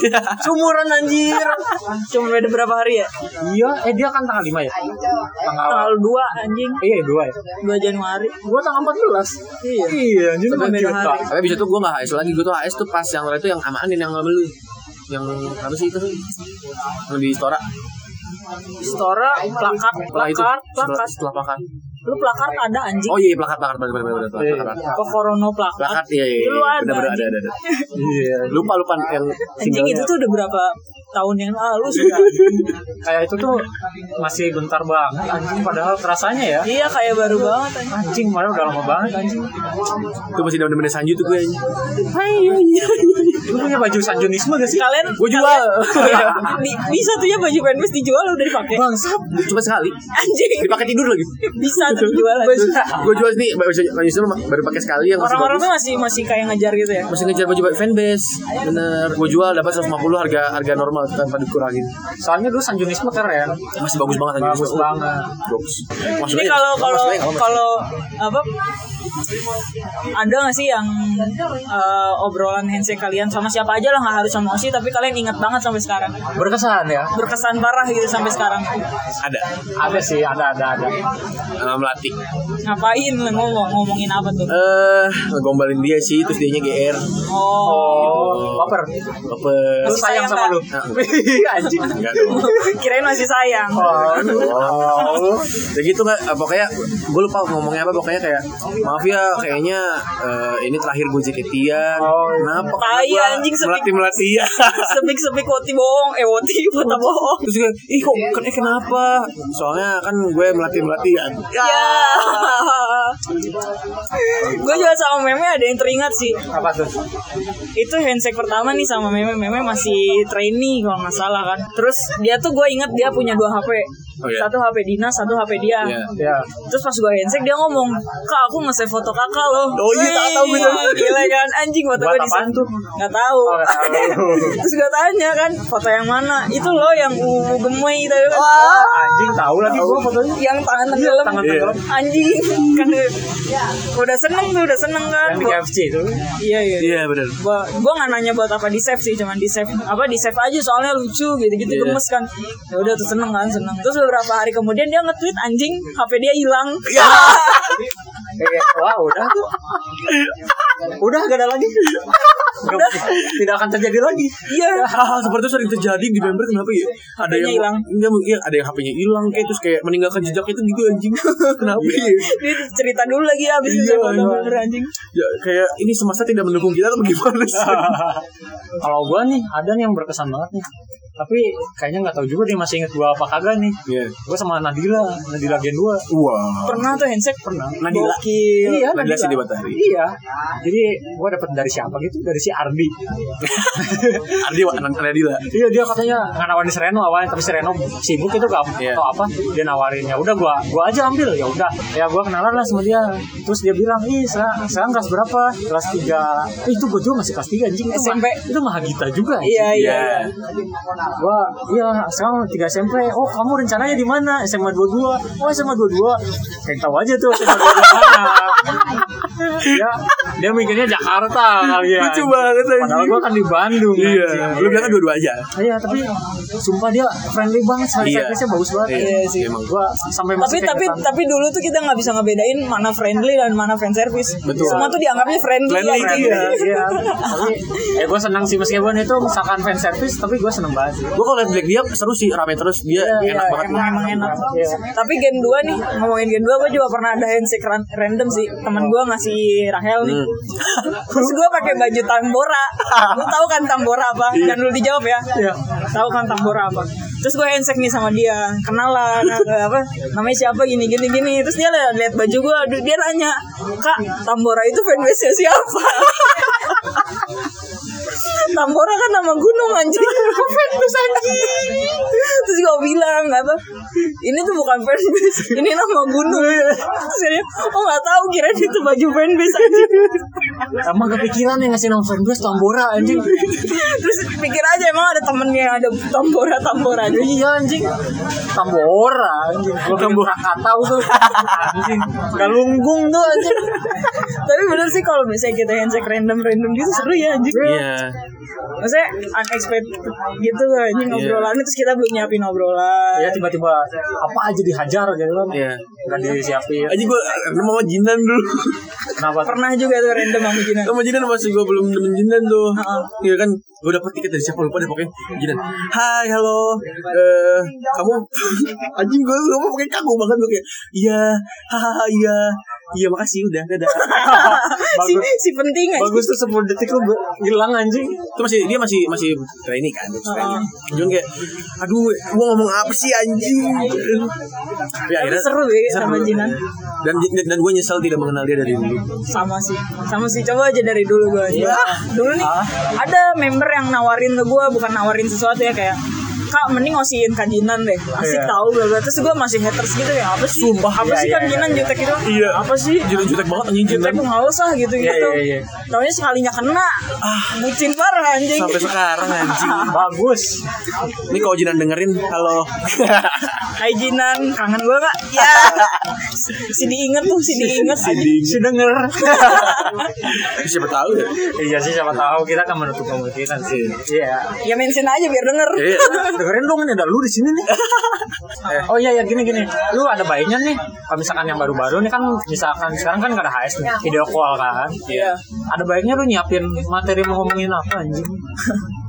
B: sumuran anjir
C: <laughs> cuma beda berapa hari ya
B: iya eh dia kan tanggal 5 ya tanggal
C: tanggal dua anjing
B: iya 2 ya
C: dua Januari
B: gue tanggal 14 iya iya anjir
C: Sampai
B: makin
C: beda
B: kita
C: hari.
D: Tapi bisa tuh gue gak HS lagi, gue tuh HS tuh pas yang itu yang sama Anin yang sama lu yang apa sih itu yang di Stora
C: Stora plakat
D: Setelah itu
C: plakat
D: setelah,
C: plakat
D: setelah plakat
C: lu plakat ada anjing
D: oh iya iya, plakat plakat plakat plakat plakat plakat,
B: Iya.
D: plakat.
C: Kok Corona plakat
D: plakat iya iya iya.
C: Lu ada,
D: benar benar ada ada ada
B: iya
D: lupa lupa yang
C: Anjing itu tuh udah berapa tahun yang lalu sih
B: kayak itu tuh masih bentar banget anjing padahal kerasanya ya
C: Iya kayak baru banget anjing.
B: anjing padahal udah lama banget anjing
D: itu masih dalam demennya Sanju tuh gue
B: lu punya baju sanjonisme gak sih
D: <laughs>
C: Kalian
D: gue jual
C: Iya, di, di satunya ya baju penbus dijual udah dipakai.
B: <laughs> bangsat
D: cuma sekali
C: Anjing.
D: dipakai tidur lagi
C: Bisa tuh dijual anjing.
D: gue jual ini baju baju Islam baru pakai sekali yang masih
C: Orang-orang
D: bagus
C: tuh masih masih kayak ngejar gitu ya.
D: masih ngejar baju baju fanbase bener gue jual dapat 150 harga harga normal tanpa dikurangin
B: soalnya dulu sanjonisme keren
D: masih bagus banget anjing
B: bagus banget
D: bagus
C: Jadi kalau kalau kalau apa ada nggak sih yang eh, obrolan handshake kalian sama siapa aja lah nggak harus sama Osi tapi kalian ingat banget sampai sekarang
B: berkesan ya
C: berkesan parah gitu sampai sekarang
D: ada
B: ada sih ada ada ada
D: eh, melatih
C: ngapain lu ngomong ngomongin apa tuh
D: eh ngegombalin dia sih terus dianya GR
C: oh
B: oh baper
D: apa
B: lu sayang sama lu
D: Nah.
B: <laughs> Iya, anjing
D: enggak dong
C: <laughs> kirain masih sayang
B: Oh,
D: Ya gitu nggak eh, pokoknya gue lupa ngomongnya apa pokoknya kayak maaf ya kayaknya eh, ini terakhir gue jaketian
B: Oh, iya.
D: kenapa
C: Tai,
D: Karena gua
C: anjing, sepik.
D: melatih melatih
A: iya.
D: ya
C: sepik-sepik woti bohong eh woti <laughs> foto bohong
D: terus gue ih kok
B: Iya.
D: ken- eh, kenapa soalnya kan gue melatih melatih kan
C: <laughs> ya gue juga sama meme ada yang teringat sih
B: apa tuh?
C: itu handshake pertama nih sama meme meme masih trainee kalau nggak salah kan terus dia tuh gue inget dia punya dua hp
D: Oh, iya.
C: satu hp dinas satu hp dia
D: Iya.
B: Ya,
C: Terus pas gue handshake dia ngomong Kak aku nge-save foto kakak loh
D: Oh iya, tak tahu gue.
C: Wih, Gila kan anjing foto
B: Buat
C: gue di
B: apaan tuh?
C: Gak tau
B: Oh, nggak tahu.
C: <laughs> Terus gue tanya kan Foto yang mana? Itu loh yang ungu gemoy tadi kan Oh,
B: anjing tahu lagi gua fotonya.
C: yang tangan tenggelam
B: tangan tenggelam.
C: anjing kan udah seneng tuh udah seneng kan
B: Yang di
C: Gua-
B: KFC itu.
C: iya iya
D: iya benar
C: gua gua nggak nanya buat apa di
B: Iya.
C: save sih cuman di save apa di save aja soalnya lucu gitu gitu gemes kan ya udah tuh seneng kan seneng terus beberapa hari kemudian dia nge-tweet anjing HP dia hilang.
B: Iya.
D: Ya.
B: Eh, wah udah tuh. Udah gak ada lagi. Gak- tidak akan terjadi lagi.
C: Iya.
B: <laughs>
A: hal-hal seperti itu sering terjadi di member kenapa ya ada
C: HP-nya
A: yang
C: hilang.
A: Iya, iya, ada yang HP-nya hilang kayak terus kayak meninggalkan jejak itu gitu anjing <laughs> kenapa ya?
C: Dia cerita dulu lagi ya abis
A: Iya,
C: itu
A: iya.
C: bener anjing.
A: ya kayak ini semesta tidak mendukung kita atau gimana sih
B: Kalau gua nih ada nih yang berkesan banget nih. Tapi kayaknya nggak tahu juga dia masih inget gua apa kagak nih.
A: Iya.
B: Gua sama Nadila, Nadila Gen 2.
A: wah
C: Pernah tuh handshake
B: Pernah.
A: Nadila.
C: Gokil.
B: Iya,
A: Nadila Sidi Batari.
B: Iya. Jadi gua dapat dari siapa gitu? Dari si Ardi.
A: <laughs> Ardi wa- anak Nadila
B: Iya dia katanya nggak nawarin si Reno awalnya tapi si Reno sibuk itu gak
A: Iya.
B: atau apa dia nawarin ya udah gua gua aja ambil ya udah ya gua kenalan lah sama dia terus dia bilang ih sekarang, sekarang kelas berapa kelas 3 itu gua juga masih kelas 3 anjing itu
C: SMP.
B: mah, itu mah Gita juga anjing.
C: Iya, iya.
A: Iya.
B: gua iya sekarang 3 SMP oh kamu rencananya di mana SMA 22 oh SMA 22 kayak tahu aja tuh SMA 22 mana ya dia mikirnya Jakarta kali ya
A: Lucu banget, anjing.
B: padahal gua kan di Bandung
A: iya
B: anjing.
A: lu bilang kan dua-dua aja
B: Iya tapi sumpah dia friendly banget sama
A: Iya.
B: service-nya bagus banget.
C: Iya sih.
A: emang
B: Gua sampai
C: Tapi
B: masih gitu.
C: tapi
B: keingetan.
C: tapi dulu tuh kita nggak bisa ngebedain mana friendly dan mana fan service.
A: Betul.
C: Semua tuh dianggapnya friendly.
A: Friendly,
C: anjing.
B: Iya, iya. Tapi ya gue senang sih meskipun itu misalkan fan service tapi gue seneng banget sih.
A: gua kalau liat Black dia seru sih rame terus dia
C: Iya,
A: enak banget
C: emang, emang enak.
B: Iya.
C: Tapi gen 2 nih, ngomongin gen 2 gue juga pernah ada handshake ran- random sih. Temen gue ngasih Rahel nih. Terus gue pakai baju tambora. Lu tahu kan tambora apa? Dan lu dijawab ya.
B: Iya.
C: Tahu kan tambora apa? Terus gue handshake nih sama dia. Kenalan nah, apa? Namanya siapa gini gini gini. Terus dia liat, liat baju gue, aduh, dia nanya, "Kak, tambora itu fanbase siapa?" <laughs> Tambora kan nama gunung anjing Kok fanbase anjing Terus gue bilang apa Ini tuh bukan fanbase Ini nama gunung Terus dia Oh gak tahu kira itu baju fanbase anjing
B: Emang kepikiran yang ngasih nama fanbase Tambora anjing.
C: Terus pikir aja emang ada temennya yang Ada tambora-tambora aja
B: iya anjing. Tambora anjing. Gue
A: Tambora.
B: Krakatau tuh. Anjing. Galunggung tuh anjing.
C: Tapi bener sih kalau misalnya kita handshake random-random gitu seru ya anjing
A: iya
C: Maksudnya unexpected gitu anjing obrolan Terus kita belum nyiapin obrolan
B: Ya tiba-tiba apa aja dihajar gitu kan.
A: iya
B: Gak disiapin.
A: aja gua nama sama Jinan dulu
B: Kenapa? tuh?
C: Pernah juga tuh random sama Gina
A: sama Jinan masih gua belum demen Jinan tuh
C: Heeh.
A: iya kan gua dapet tiket dari siapa lupa deh pokoknya Jinan hai halo eh kamu <laughs> anjing gua lupa pokoknya kagum banget gua kayak iya hahaha iya iya makasih udah dadah <laughs>
C: <laughs> si, si penting anjing.
B: Bagus tuh 10 detik lu be- hilang anjing.
A: itu masih dia masih masih trainee kan terus trainee Cuman kayak aduh gua ngomong apa sih anjing Tapi akhirnya
C: seru ya sama Jinan.
A: dan dan, dan gue nyesal tidak mengenal dia dari dulu
C: sama sih sama sih coba aja dari dulu gue
B: Iya.
C: aja Ah, dulu nih
B: Ah.
C: ada member yang nawarin ke gue bukan nawarin sesuatu ya kayak kak mending ngosihin kajinan deh asik
B: Iya.
C: tahu bla bla terus gue masih haters gitu ya apa sih
A: Sumpah.
C: apa
B: Iya,
C: sih
B: iya,
C: kajinan
B: iya,
C: jutek itu
A: Iya.
C: apa sih
A: jutek jutek banget anjing
C: jutek
A: Jinan
C: gue nggak usah gitu gitu
B: Iya, iya, iya. Ah.
C: taunya sekalinya kena bucin parah anjing <laughs>
A: sampai sekarang anjing
B: Bagus.
A: ini kalau Jinan dengerin halo <laughs>
C: Hai Jinan kangen gue kak
B: <laughs>
C: ya si diinget tuh si diinget
B: Si denger.
A: siapa tahu ya
B: iya sih siapa tahu kita kan menutup kemungkinan sih. Iya.
C: <laughs> ya mention aja biar denger
A: Iya.
B: Eh, Dengerin dong ini ada lu di sini nih. Eh, oh iya ya gini gini. Lu ada baiknya nih. Kalau misalkan yang baru-baru nih kan misalkan sekarang kan gak ada HS nih. Video call kan.
A: Iya.
B: Ada baiknya lu nyiapin materi mau ngomongin apa anjing.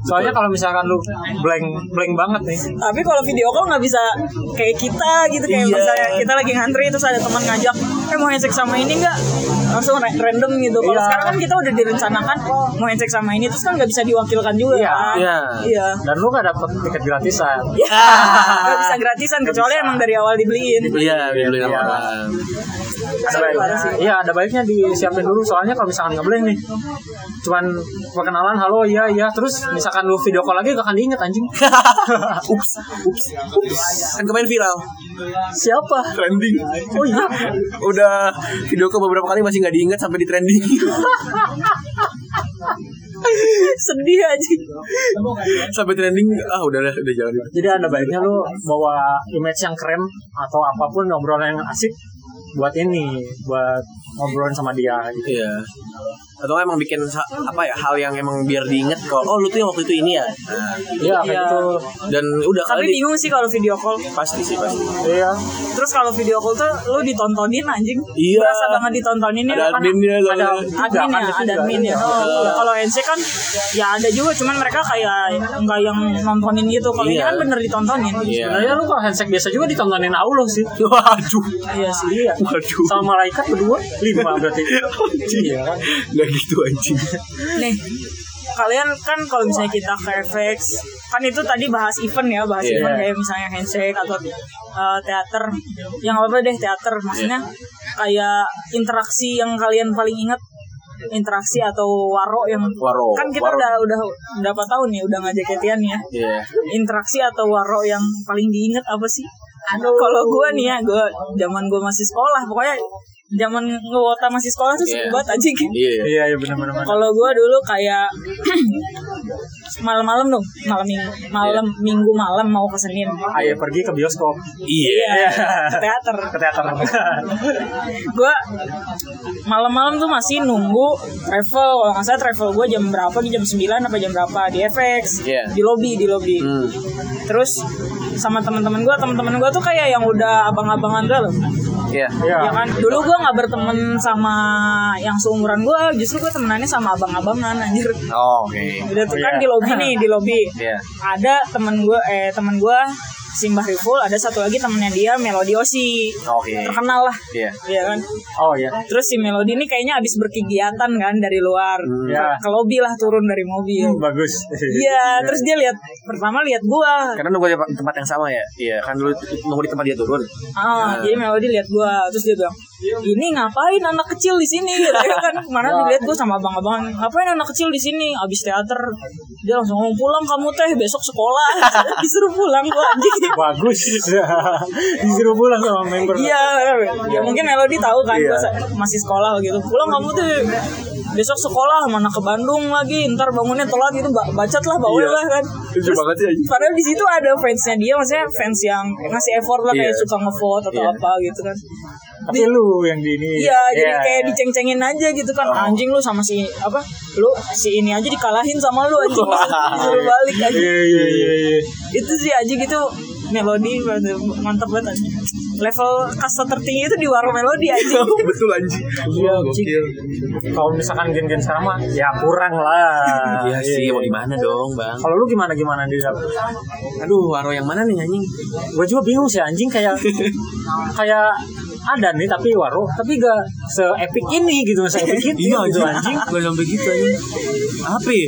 B: Soalnya kalau misalkan lu blank blank banget nih.
C: Tapi kalau video call nggak bisa kayak kita gitu kayak
A: Iya.
C: misalnya kita lagi ngantri terus ada teman ngajak, eh mau handshake sama ini nggak? Langsung ra- random gitu. Kalau
B: Iya.
C: sekarang kan kita udah direncanakan mau handshake sama ini terus kan nggak bisa diwakilkan juga
B: Iya,
C: kan?
A: iya.
C: Iya.
B: Dan lu gak dapet tiket gratisan.
C: Ya, <laughs> nggak bisa gratisan kecuali emang dari awal dibeliin.
A: iya dibeliin sama
B: Iya.
A: orang <laughs>
B: ada
C: Parah
B: baiknya
C: sih. <laughs>
B: iya ada baiknya disiapin dulu soalnya kalau misalkan ngeblank nih cuman perkenalan halo iya iya terus misalkan lu video call lagi gak akan diinget anjing
A: ups ups ups kan kemarin viral
B: <laughs> siapa
A: trending
B: oh iya
A: udah video ke beberapa kali masih nggak diingat sampai di trending <laughs>
C: Sedih aja.
A: sampai trending ah udah udah udah jalan
B: jadi ada baiknya lu bawa image yang keren atau apapun obrolan yang asik buat ini buat ngobrolin sama dia gitu
A: Iya.
D: atau nggak emang bikin sa- apa ya hal yang emang biar diinget kok oh lu tuh yang waktu itu ini ya nah,
B: Iya kayak
C: Iya.
B: gitu.
D: dan udah
C: Tapi
D: kali di-
C: bingung sih kalau video call.
D: pasti sih pasti
B: Iya.
C: Terus kalau video call tuh lu ditontonin anjing.
D: Iya.
C: Berasa banget ditontonin ya.
D: Ada
C: karena
D: adminnya,
C: Ada
D: soalnya.
C: admin ya, ada
A: Iya.
C: admin
D: Iya.
C: ya. Oh, kalau- Kalau NC kan ya ada juga cuman mereka kayak nggak yang nontonin gitu. Kalau ini
D: Iya.
C: kan bener ditontonin.
D: Iya.
B: Sebenarnya Nah, lu kalau handshake biasa juga ditontonin Allah sih. <laughs>
D: waduh
B: Iya sih. Iya.
D: waduh
B: Sama malaikat berdua lima berarti. iya kan.
D: nggak gitu anjing
C: Nih, kalian kan kalau misalnya kita ke FX, kan itu tadi bahas event ya, bahas
D: Iya.
C: event kayak misalnya handshake atau uh, teater, yang apa deh teater, maksudnya
D: Iya.
C: kayak interaksi yang kalian paling ingat interaksi atau waro yang
D: Waro,
C: kan kita
D: waro.
C: udah udah berapa tahun ya udah ngajak Etian ya
D: Iya.
C: interaksi atau waro yang paling diinget apa sih? Kalau gue nih ya, gue zaman gue masih sekolah, pokoknya zaman ngewota masih sekolah tuh seru
D: Iya.
C: banget aja gitu.
D: iya
B: Iya iya benar-benar.
C: Kalau gua dulu kayak <clears throat> malam-malam dong, malam minggu, malam minggu malam mau ke
D: <laughs>
C: Senin.
B: Ayo Eh, pergi ke bioskop.
D: iya
C: Iya, ke teater.
B: Ke teater. <laughs>
C: Gua malam-malam tuh masih nunggu travel. Kalau nggak salah travel gua jam berapa? Di jam 9 apa jam berapa? Di FX,
D: Iya.
C: di lobby, di lobby.
D: Hmm.
C: Terus sama teman-teman gua, teman-teman gua tuh kayak yang udah abang-abangan gue loh.
D: iya
B: Iya.
C: Ya kan? Dulu gua nggak berteman sama yang seumuran gua, justru gua temenannya sama abang-abangan anjir.
D: oh, oke
C: Udah tuh
B: Oh,
C: kan
B: iya.
C: di lobby nih, di lobby.
D: Iya.
C: Ada temen gue eh temen gue Simbah Riful, ada satu lagi temennya dia Melody Osi.
D: Oke.
C: Terkenal lah.
D: iya
C: Iya kan?
B: Oh iya.
C: Terus si Melody ini kayaknya abis berkegiatan kan dari luar.
B: Iya.
C: Ke lobby lah turun dari mobil.
B: Hmm, bagus.
C: Iya, terus dia lihat pertama lihat gua.
D: karena nunggu di tempat yang sama ya iya kan lu nunggu di tempat dia turun
C: Ah, jadi Melody lihat gua, terus dia bilang, "Ini ngapain anak kecil di sini?" <laughs> Gitu ya kan kemarin dilihat gua sama abang-abang, "Ngapain anak kecil di sini?" Abis teater, dia langsung ngomong, "Pulang kamu teh, besok sekolah." <laughs> Disuruh pulang gua anjing.
D: <laughs>
B: Bagus. Disuruh pulang sama member.
C: Iya, ya mungkin Melody tahu kan gua sa- masih sekolah gitu. Pulang kamu teh besok sekolah mana ke Bandung lagi ntar bangunnya telat gitu ba- bacot lah bawa lah kan
D: lucu banget sih anjing.
C: Padahal di situ ada fansnya dia, maksudnya fans yang ngasih effort lah kayak
D: Iya.
C: suka ngevote atau
D: Iya.
C: apa gitu kan.
B: Tapi lu yang di ini.
C: Iya, jadi
B: Iya,
C: kayak
B: iya.
C: diceng-cengin aja gitu kan. Anjing lu sama si apa? Lu si ini aja dikalahin sama lu anjing. Disuruh balik aja.
B: Iya iya iya. iya.
C: Itu sih aja gitu melodi mantap banget anjing. Level kasta tertinggi itu di warung melodi aja.
B: <laughs>
D: betul anjing iya gokil
B: Kalau misalkan gen-gen sekarang mah ya kurang lah.
D: iya sih mau di mana dong bang
B: Kalau lu gimana gimana di dalam?
D: aduh waro yang mana nih anjing
B: Gue juga bingung sih anjing kayak kayak ada nih tapi waro tapi gak se epic ini gitu se epic ini gitu anjing.
D: Gak sampai gitu Iya, anjing Apa ya?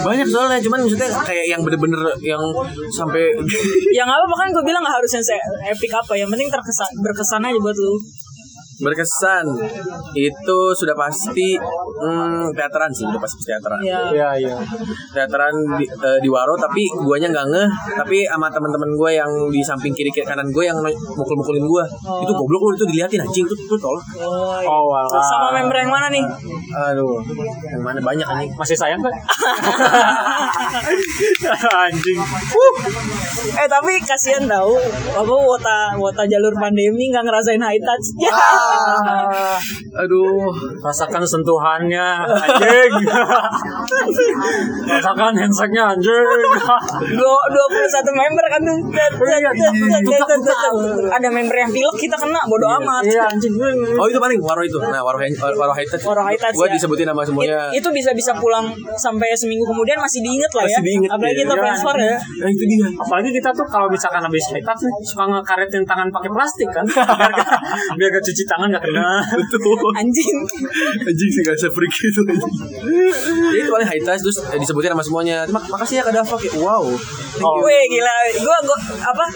D: Banyak soalnya Cuman maksudnya kayak yang bener-bener Yang sampai
C: yang apa bahkan gue bilang gak harus yang se- epic apa, yang penting terkesan berkesan aja buat lu.
D: Berkesan Itu sudah pasti hmm, Teateran sih Sudah pasti teateran
C: Ya.
B: Iya iya.
D: Teateran di, eh, di Waro Tapi guanya gak ngeh Tapi sama teman-teman gue Yang di samping kiri-kiri kanan gue Yang mukul-mukulin gue Itu goblok lu Itu diliatin anjing Itu, itu tolol
C: Oh, iya.
B: Oh walah.
C: Sama member yang mana nih?
D: Aduh Yang mana banyak <laughs> anjing
B: masih sayang kan? anjing.
C: Eh tapi kasihan tahu, apa wota wota jalur pandemi nggak ngerasain high touch. <laughs> Ya.
D: Aduh
B: Rasakan Kan sentuhannya anjing. Rasakan kan handshake-nya anjing.
C: Dua dua puluh satu member kan tuh. Cet,
B: Iya,
C: cet, cet, cet, cet, cet, cet. Ada member yang pilek kita kena bodo amat.
B: Iya anjing.
D: Oh itu paling Waro itu Nah Waro, waro High Touch
C: Waro high touch,
D: Gue
C: ya.
D: disebutin nama semuanya
C: It- itu bisa bisa pulang sampai seminggu kemudian masih diinget lah ya.
D: Masih diinget,
C: Apalagi
D: iya.
C: kita
B: Iya.
C: transfer ya.
D: Nah itu dia
B: Apalagi kita tuh kalau misalkan habis makeup nih suka ngekaretin tangan pakai plastik kan. Biar gak, biar gak cuci tangan gak kena.
D: Betul
C: Anjing.
D: Anjing sih gak se-freak itu Jadi <laughs> itu paling high touch Terus eh, disebutin sama semuanya Mak Makasih ya Kak Dava Kayak, Wow
B: Oh.
C: Weh gila, gua gua apa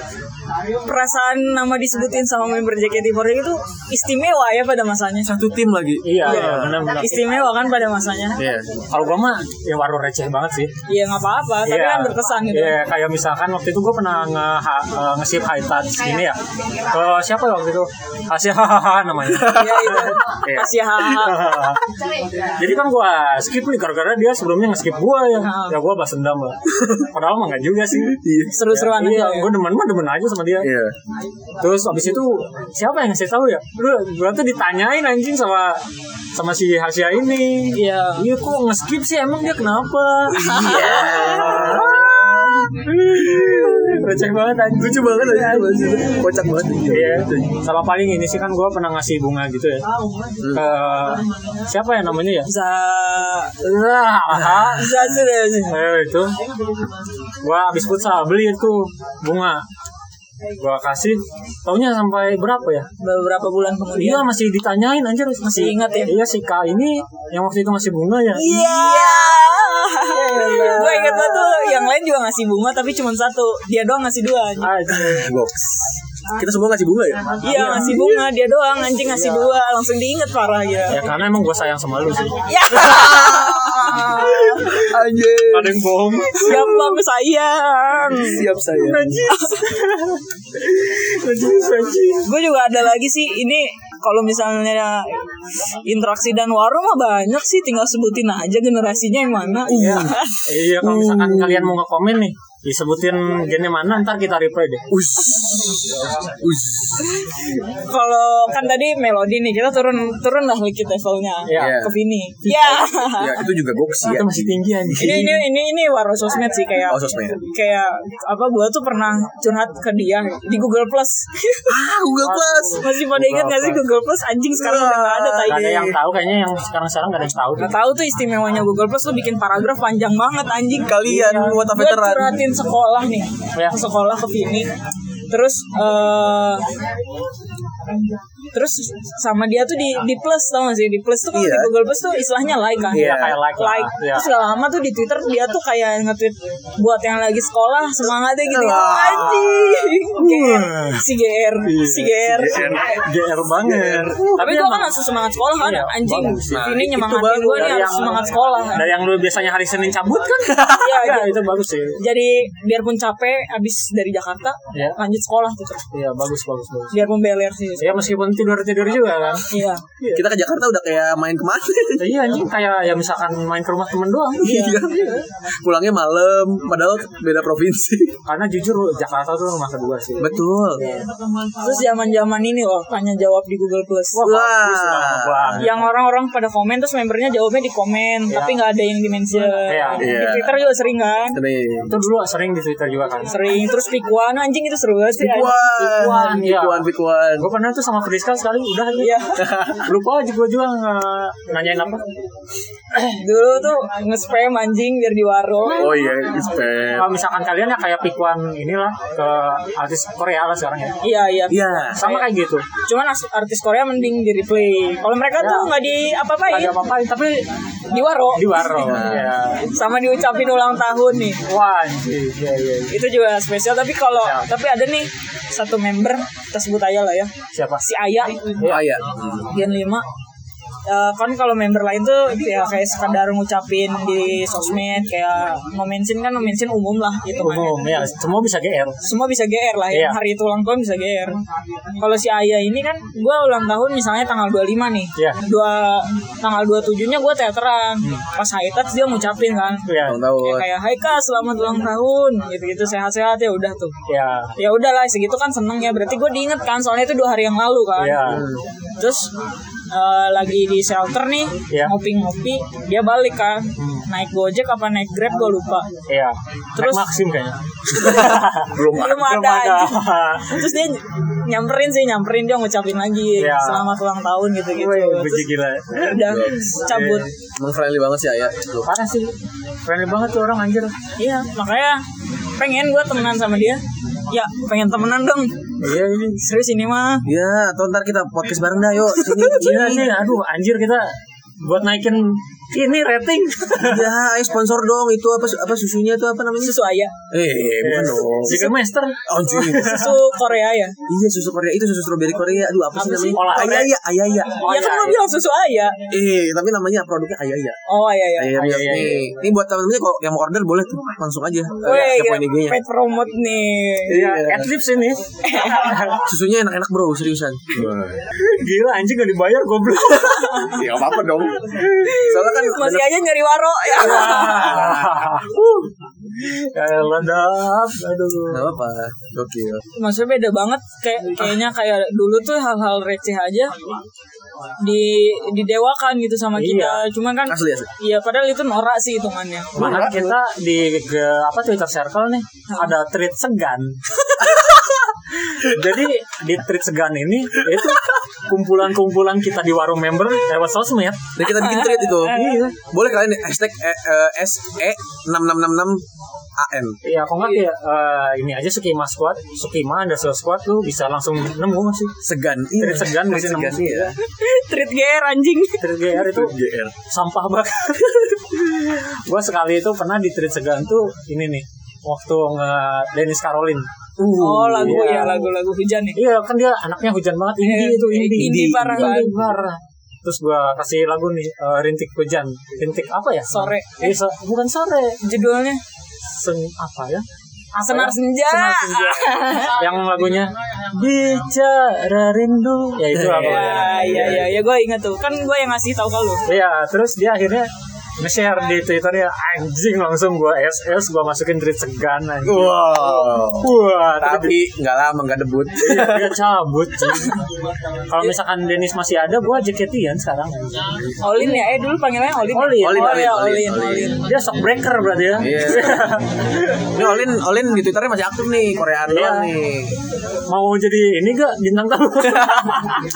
C: perasaan nama disebutin sama member JKT48 itu istimewa ya pada masanya.
D: Satu tim lagi
B: Iya, iya benar-benar.
C: Istimewa kan pada masanya.
D: Iya
B: Kalau gua mah ya waru receh banget sih.
C: Iya nggak apa-apa, tapi
B: Iya.
C: kan berkesan gitu.
B: Iya, kayak misalkan waktu itu gue pernah nge, ha- eh, nge-ship high touch
C: Iya.
B: ini ya. Ke siapa ya waktu itu? Asia hahaha namanya.
C: Iya itu.
B: <laughs> Iya.
C: Masih hahaha.
B: Jadi kan gue skip nih gara-gara dia sebelumnya nge-skip gue ya. Ya
C: Heeh.
B: gue bahas dendam lah. Padahal mah enggak juga sih.
C: Seru-seruan
B: Iya,
C: aja. ya.
B: gue demen mah demen aja sama dia
D: Iya.
B: Terus abis itu siapa yang ngasih tahu ya? Lu berarti ditanyain anjing sama sama si Hasya ini.
C: Iya.
B: Iya kok nge-skip sih emang dia kenapa? Iya. <laughs> Receh banget anjing.
D: Lucu banget aja Kocak banget Gitu
B: Iya. Sama paling ini sih kan gue pernah ngasih bunga gitu ya.
D: Hmm.
B: Ke siapa ya namanya ya?
C: bisa
D: Ah.
B: Lah,
C: bisa sudah sih
B: Eh, itu gua habis futsal beli itu bunga gua kasih taunya sampai berapa ya
C: beberapa bulan
B: Iya
C: kemudian
B: masih ditanyain anjir masih
C: ingat ya?
B: Iya si Kak ini yang waktu itu ngasih bunga ya.
C: Iya. Gue inget banget tuh yang lain juga ngasih bunga tapi cuma satu. Dia doang ngasih dua. anjing.
D: Ah,
B: Anjir.
D: Box. Kita semua ngasih bunga ya?
C: Iya ngasih bunga dia doang anjing ngasih dua langsung diinget parah gitu.
D: Iya.
B: Ya karena emang gua sayang sama lu sih.
C: Ya.
D: Anjir.
B: Ada yang bohong.
C: Gampang sayang.
D: Siap saya.
C: Gue juga ada lagi sih ini kalau misalnya interaksi dan warung mah banyak sih tinggal sebutin aja generasinya yang mana.
B: iya kalau misalkan kalian mau ngekomen nih disebutin gennya mana ntar kita reply deh.
D: Us. Us.
C: kalau kan tadi melodi nih kita turun turun lah liquid levelnya
B: Iya.
C: ke Vini. Ya.
D: Ya itu juga box ya.
B: Itu masih tinggi anjing.
C: ini ini ini ini waro sosmed sih kayak
D: Oh, sosmed.
C: kayak apa gua tuh pernah curhat ke dia di Google Plus
D: Ah, Google Plus.
C: masih pada ingat gak sih Google Plus anjing sekarang udah gak ada
B: Gak ada
C: tai
B: yang tahu kayaknya yang sekarang-sekarang gak ada yang tahu.
C: Gak iya, tahu tuh istimewanya Google Plus lu bikin paragraf panjang banget anjing
D: Kalian,
C: buat
D: what a
C: Gue
D: veteran.
C: curhatin sekolah nih
B: Ya.
C: Ke sekolah ke Vini Terus eh Terus sama dia tuh di, di plus tau gak sih Di plus tuh kalau
D: Iya.
C: di Google Plus tuh istilahnya like kan
B: Iya, kayak like lah. Iya.
C: Terus gak lama tuh di Twitter dia tuh kayak nge-tweet Buat yang lagi sekolah semangatnya gitu
D: Wah.
C: Anjing GR Si GR Si GR
B: GR banget.
D: Iya.
C: tapi gue
B: emang-
C: kan langsung semangat sekolah kan
B: Iya,
C: anjing
B: bagus.
C: nah, ini
D: itu
C: nyemangatin
D: bagus.
C: gue nih
B: Dari
C: harus
B: yang-
C: semangat sekolah Nah,
B: dari yang lu biasanya hari Senin cabut kan
C: <laughs> Iya,
B: Iya,
C: gitu.
B: itu bagus sih
C: jadi biarpun capek abis dari Jakarta
B: Iya.
C: lanjut sekolah tuh terus
B: iya bagus bagus bagus
C: biarpun beler sih
B: ya meskipun tidur tidur juga kan
C: iya
D: Kita ke Jakarta udah kayak main kemarin.
B: iya anjing kayak ya misalkan main ke rumah temen doang
D: Iya. <laughs> Pulangnya malam, padahal beda provinsi. <laughs>
B: karena jujur Jakarta tuh rumah kedua sih
D: Betul.
C: terus zaman zaman ini loh tanya jawab di Google Plus
D: Wah.
B: Wah. iya.
C: yang orang-orang pada komen terus membernya jawabnya di komen tapi nggak ada yang di mention
B: Iya.
C: di
D: Iya.
C: Twitter juga sering kan
D: Nih.
B: itu dulu sering di Twitter juga kan
C: sering terus pikuan anjing itu seru banget sih
D: Pikuan, ya.
B: iya.
D: pikuan, pikuan.
B: gue pernah tuh sama Friska sekali udah aja
C: Iya.
B: lupa aja gue juga eh, nanyain apa
C: dulu tuh nge-spam anjing biar di warung
D: Oh iya, spam.
B: kalau misalkan kalian ya kayak pikuan inilah ke artis Korea lah sekarang ya
C: iya iya
D: Iya.
B: sama kayak gitu
C: cuman as- artis Korea mending di replay kalau mereka tuh nggak di apa-apain
B: ada apa-apa iya, tapi
C: di waro
B: di warung
D: Iya.
B: ya.
C: sama diucapin ulang tahun nih
B: Wah, anjir, iya, iya. iya.
C: itu juga spesial tapi kalau
B: Ya.
C: tapi ada nih satu member kita sebut aja lah ya
B: Siapa?
C: si Aya
D: Oh iya.
C: Gen 5 Eh, kan kalau member lain tuh ya kayak sekadar ngucapin di sosmed kayak ngomensin kan ngomensin umum lah gitu kan
B: Umum, ya. Semua bisa GR.
C: semua bisa GR lah
B: Iya.
C: ya hari itu ulang tahun bisa GR kalau si Aya ini kan gue ulang tahun misalnya tanggal 25 nih
B: Iya. Hmm.
C: dua tanggal 27 nya gue teateran pas high touch dia ngucapin kan
B: Ya,
D: Tahun
C: Kayak-
D: tahun.
C: kayak Hai Kak selamat ulang tahun gitu-gitu sehat-sehat ya udah tuh
B: ya,
C: ya udahlah segitu kan seneng ya berarti gue diinget kan soalnya itu dua hari yang lalu kan
B: ya.
D: Hmm.
C: terus eh, lagi di shelter nih
B: Iya.
C: ngopi-ngopi dia balik kan
B: Hmm.
C: naik gojek apa naik grab gue lupa
B: Ya, terus
C: Terus-
B: maksim kayaknya.
D: Belum
C: <laughs> belum
B: Belum
C: ada
B: ada.
C: anjing. terus dia ny- nyamperin sih nyamperin dia ngucapin lagi
B: Iya.
C: selamat ulang tahun gitu-gitu
B: Wih, Iya.
C: terus
B: biji gila. ya.
C: udah cabut
D: Emang friendly banget sih Ayah. Lu.
B: Parah sih. Friendly banget tuh orang anjir.
C: iya makanya pengen gue temenan sama dia ya pengen temenan dong
B: Iya, iya.
C: serius ini mah
D: Ya, atau ntar kita podcast bareng dah, yuk. Sini, <laughs>
B: Iya,
D: sini.
B: nih, aduh anjir kita buat naikin ini rating.
D: Ya, ayo sponsor dong. Itu apa apa susunya itu apa namanya?
C: susu ayah
D: Eh, bukan dong.
B: Si semester.
D: Anjing.
B: <laughs>
C: susu Korea ya
D: Iya, susu Korea itu susu strawberry Korea. Aduh, apa sih
B: Apa sih?
D: namanya?
B: Olah.
D: Ayaya, ayaya.
B: Oh,
C: ya
B: iya,
C: kan lo bilang susu ayah
D: Eh, tapi namanya produknya ayaya.
C: oh ayah ya
D: Ayam
B: Ayam,
D: nih. Ini buat teman-teman kalau yang mau order boleh tuh langsung aja.
C: Weh, iya,
D: Eh, kepoin IG-nya.
C: pet promote nih
B: Iya, at least
C: <laughs>
B: ini.
D: Susunya enak-enak bro, seriusan.
B: Gila anjing gak dibayar goblok.
C: <laughs>
D: Ya apa-apa dong. Soalnya kan
B: Iya.
C: <laughs> masih aja nyari waro ya
B: Ah. Kayak ledak. Aduh.
D: Gak apa Gokil
C: maksudnya beda banget kayak kayaknya kayak dulu tuh hal-hal receh aja di didewakan gitu sama kita cuman kan
D: Asli, asli.
C: iya padahal itu norak sih hitungannya <laughs>
B: Mana kita di ge- apa Twitter Circle nih
C: Hmm.
B: ada tweet
C: <laughs>
B: segan. Jadi di tweet segan ini itu kumpulan-kumpulan kita di warung member lewat sosmed.
D: Dan kita bikin tweet itu
B: Iya.
D: Boleh kalian hashtag eh, SE 6666 AN
B: Iya, kok nggak ya eh, ini aja Sukima Squad, Sukima ada Squad tuh bisa langsung nemu masih.
D: Segan
B: Tweet segan
D: Tweet
B: masih
D: segan
B: nemu.
D: iya
C: treat gear anjing
B: Tweet GR itu
D: GR
B: sampah banget. <laughs> Gua sekali itu pernah di tweet segan tuh ini nih waktu nge Dennis Caroline.
C: oh lagu
B: iya.
C: ya lagu-lagu hujan nih
B: Iya kan dia anaknya hujan banget Indie
C: Eh,
B: itu Indie
C: indie parah kan.
B: Indie parah Iya, Terus gua kasih lagu nih eh, Rintik Hujan Rintik apa ya?
C: Sore.
B: Eh, so- Bukan sore
C: judulnya
B: Sen apa ya?
C: senar senja
B: Senar
C: <laughs>
B: Senja. Yang lagunya Bicara Rindu Ya itu apa ya?
C: Wah, iya iya iya gue inget tuh kan gue yang ngasih tahu kalau
B: Iya terus dia akhirnya Nge-share di Twitter ya Anjing langsung gua SS Gua masukin tweet segan anjing
D: Wow
B: Wah tapi
D: Tapi nggak lama nggak debut
B: dia, dia cabut Kalau misalkan Dennis masih ada gua JKT-an sekarang
C: Olin ya eh dulu panggilnya Olin ya?
B: Olin.
D: Olin,
C: Oh, iya,
D: Olin,
C: Olin
D: Olin.
C: Olin
B: Dia shock breaker berarti ya.
D: Iya. Ini Olin Olin di Twitternya masih aktif nih Koreaan
B: Iya.
D: doang nih
B: <laughs> Mau jadi ini gak bintang
D: <laughs>
B: tamu?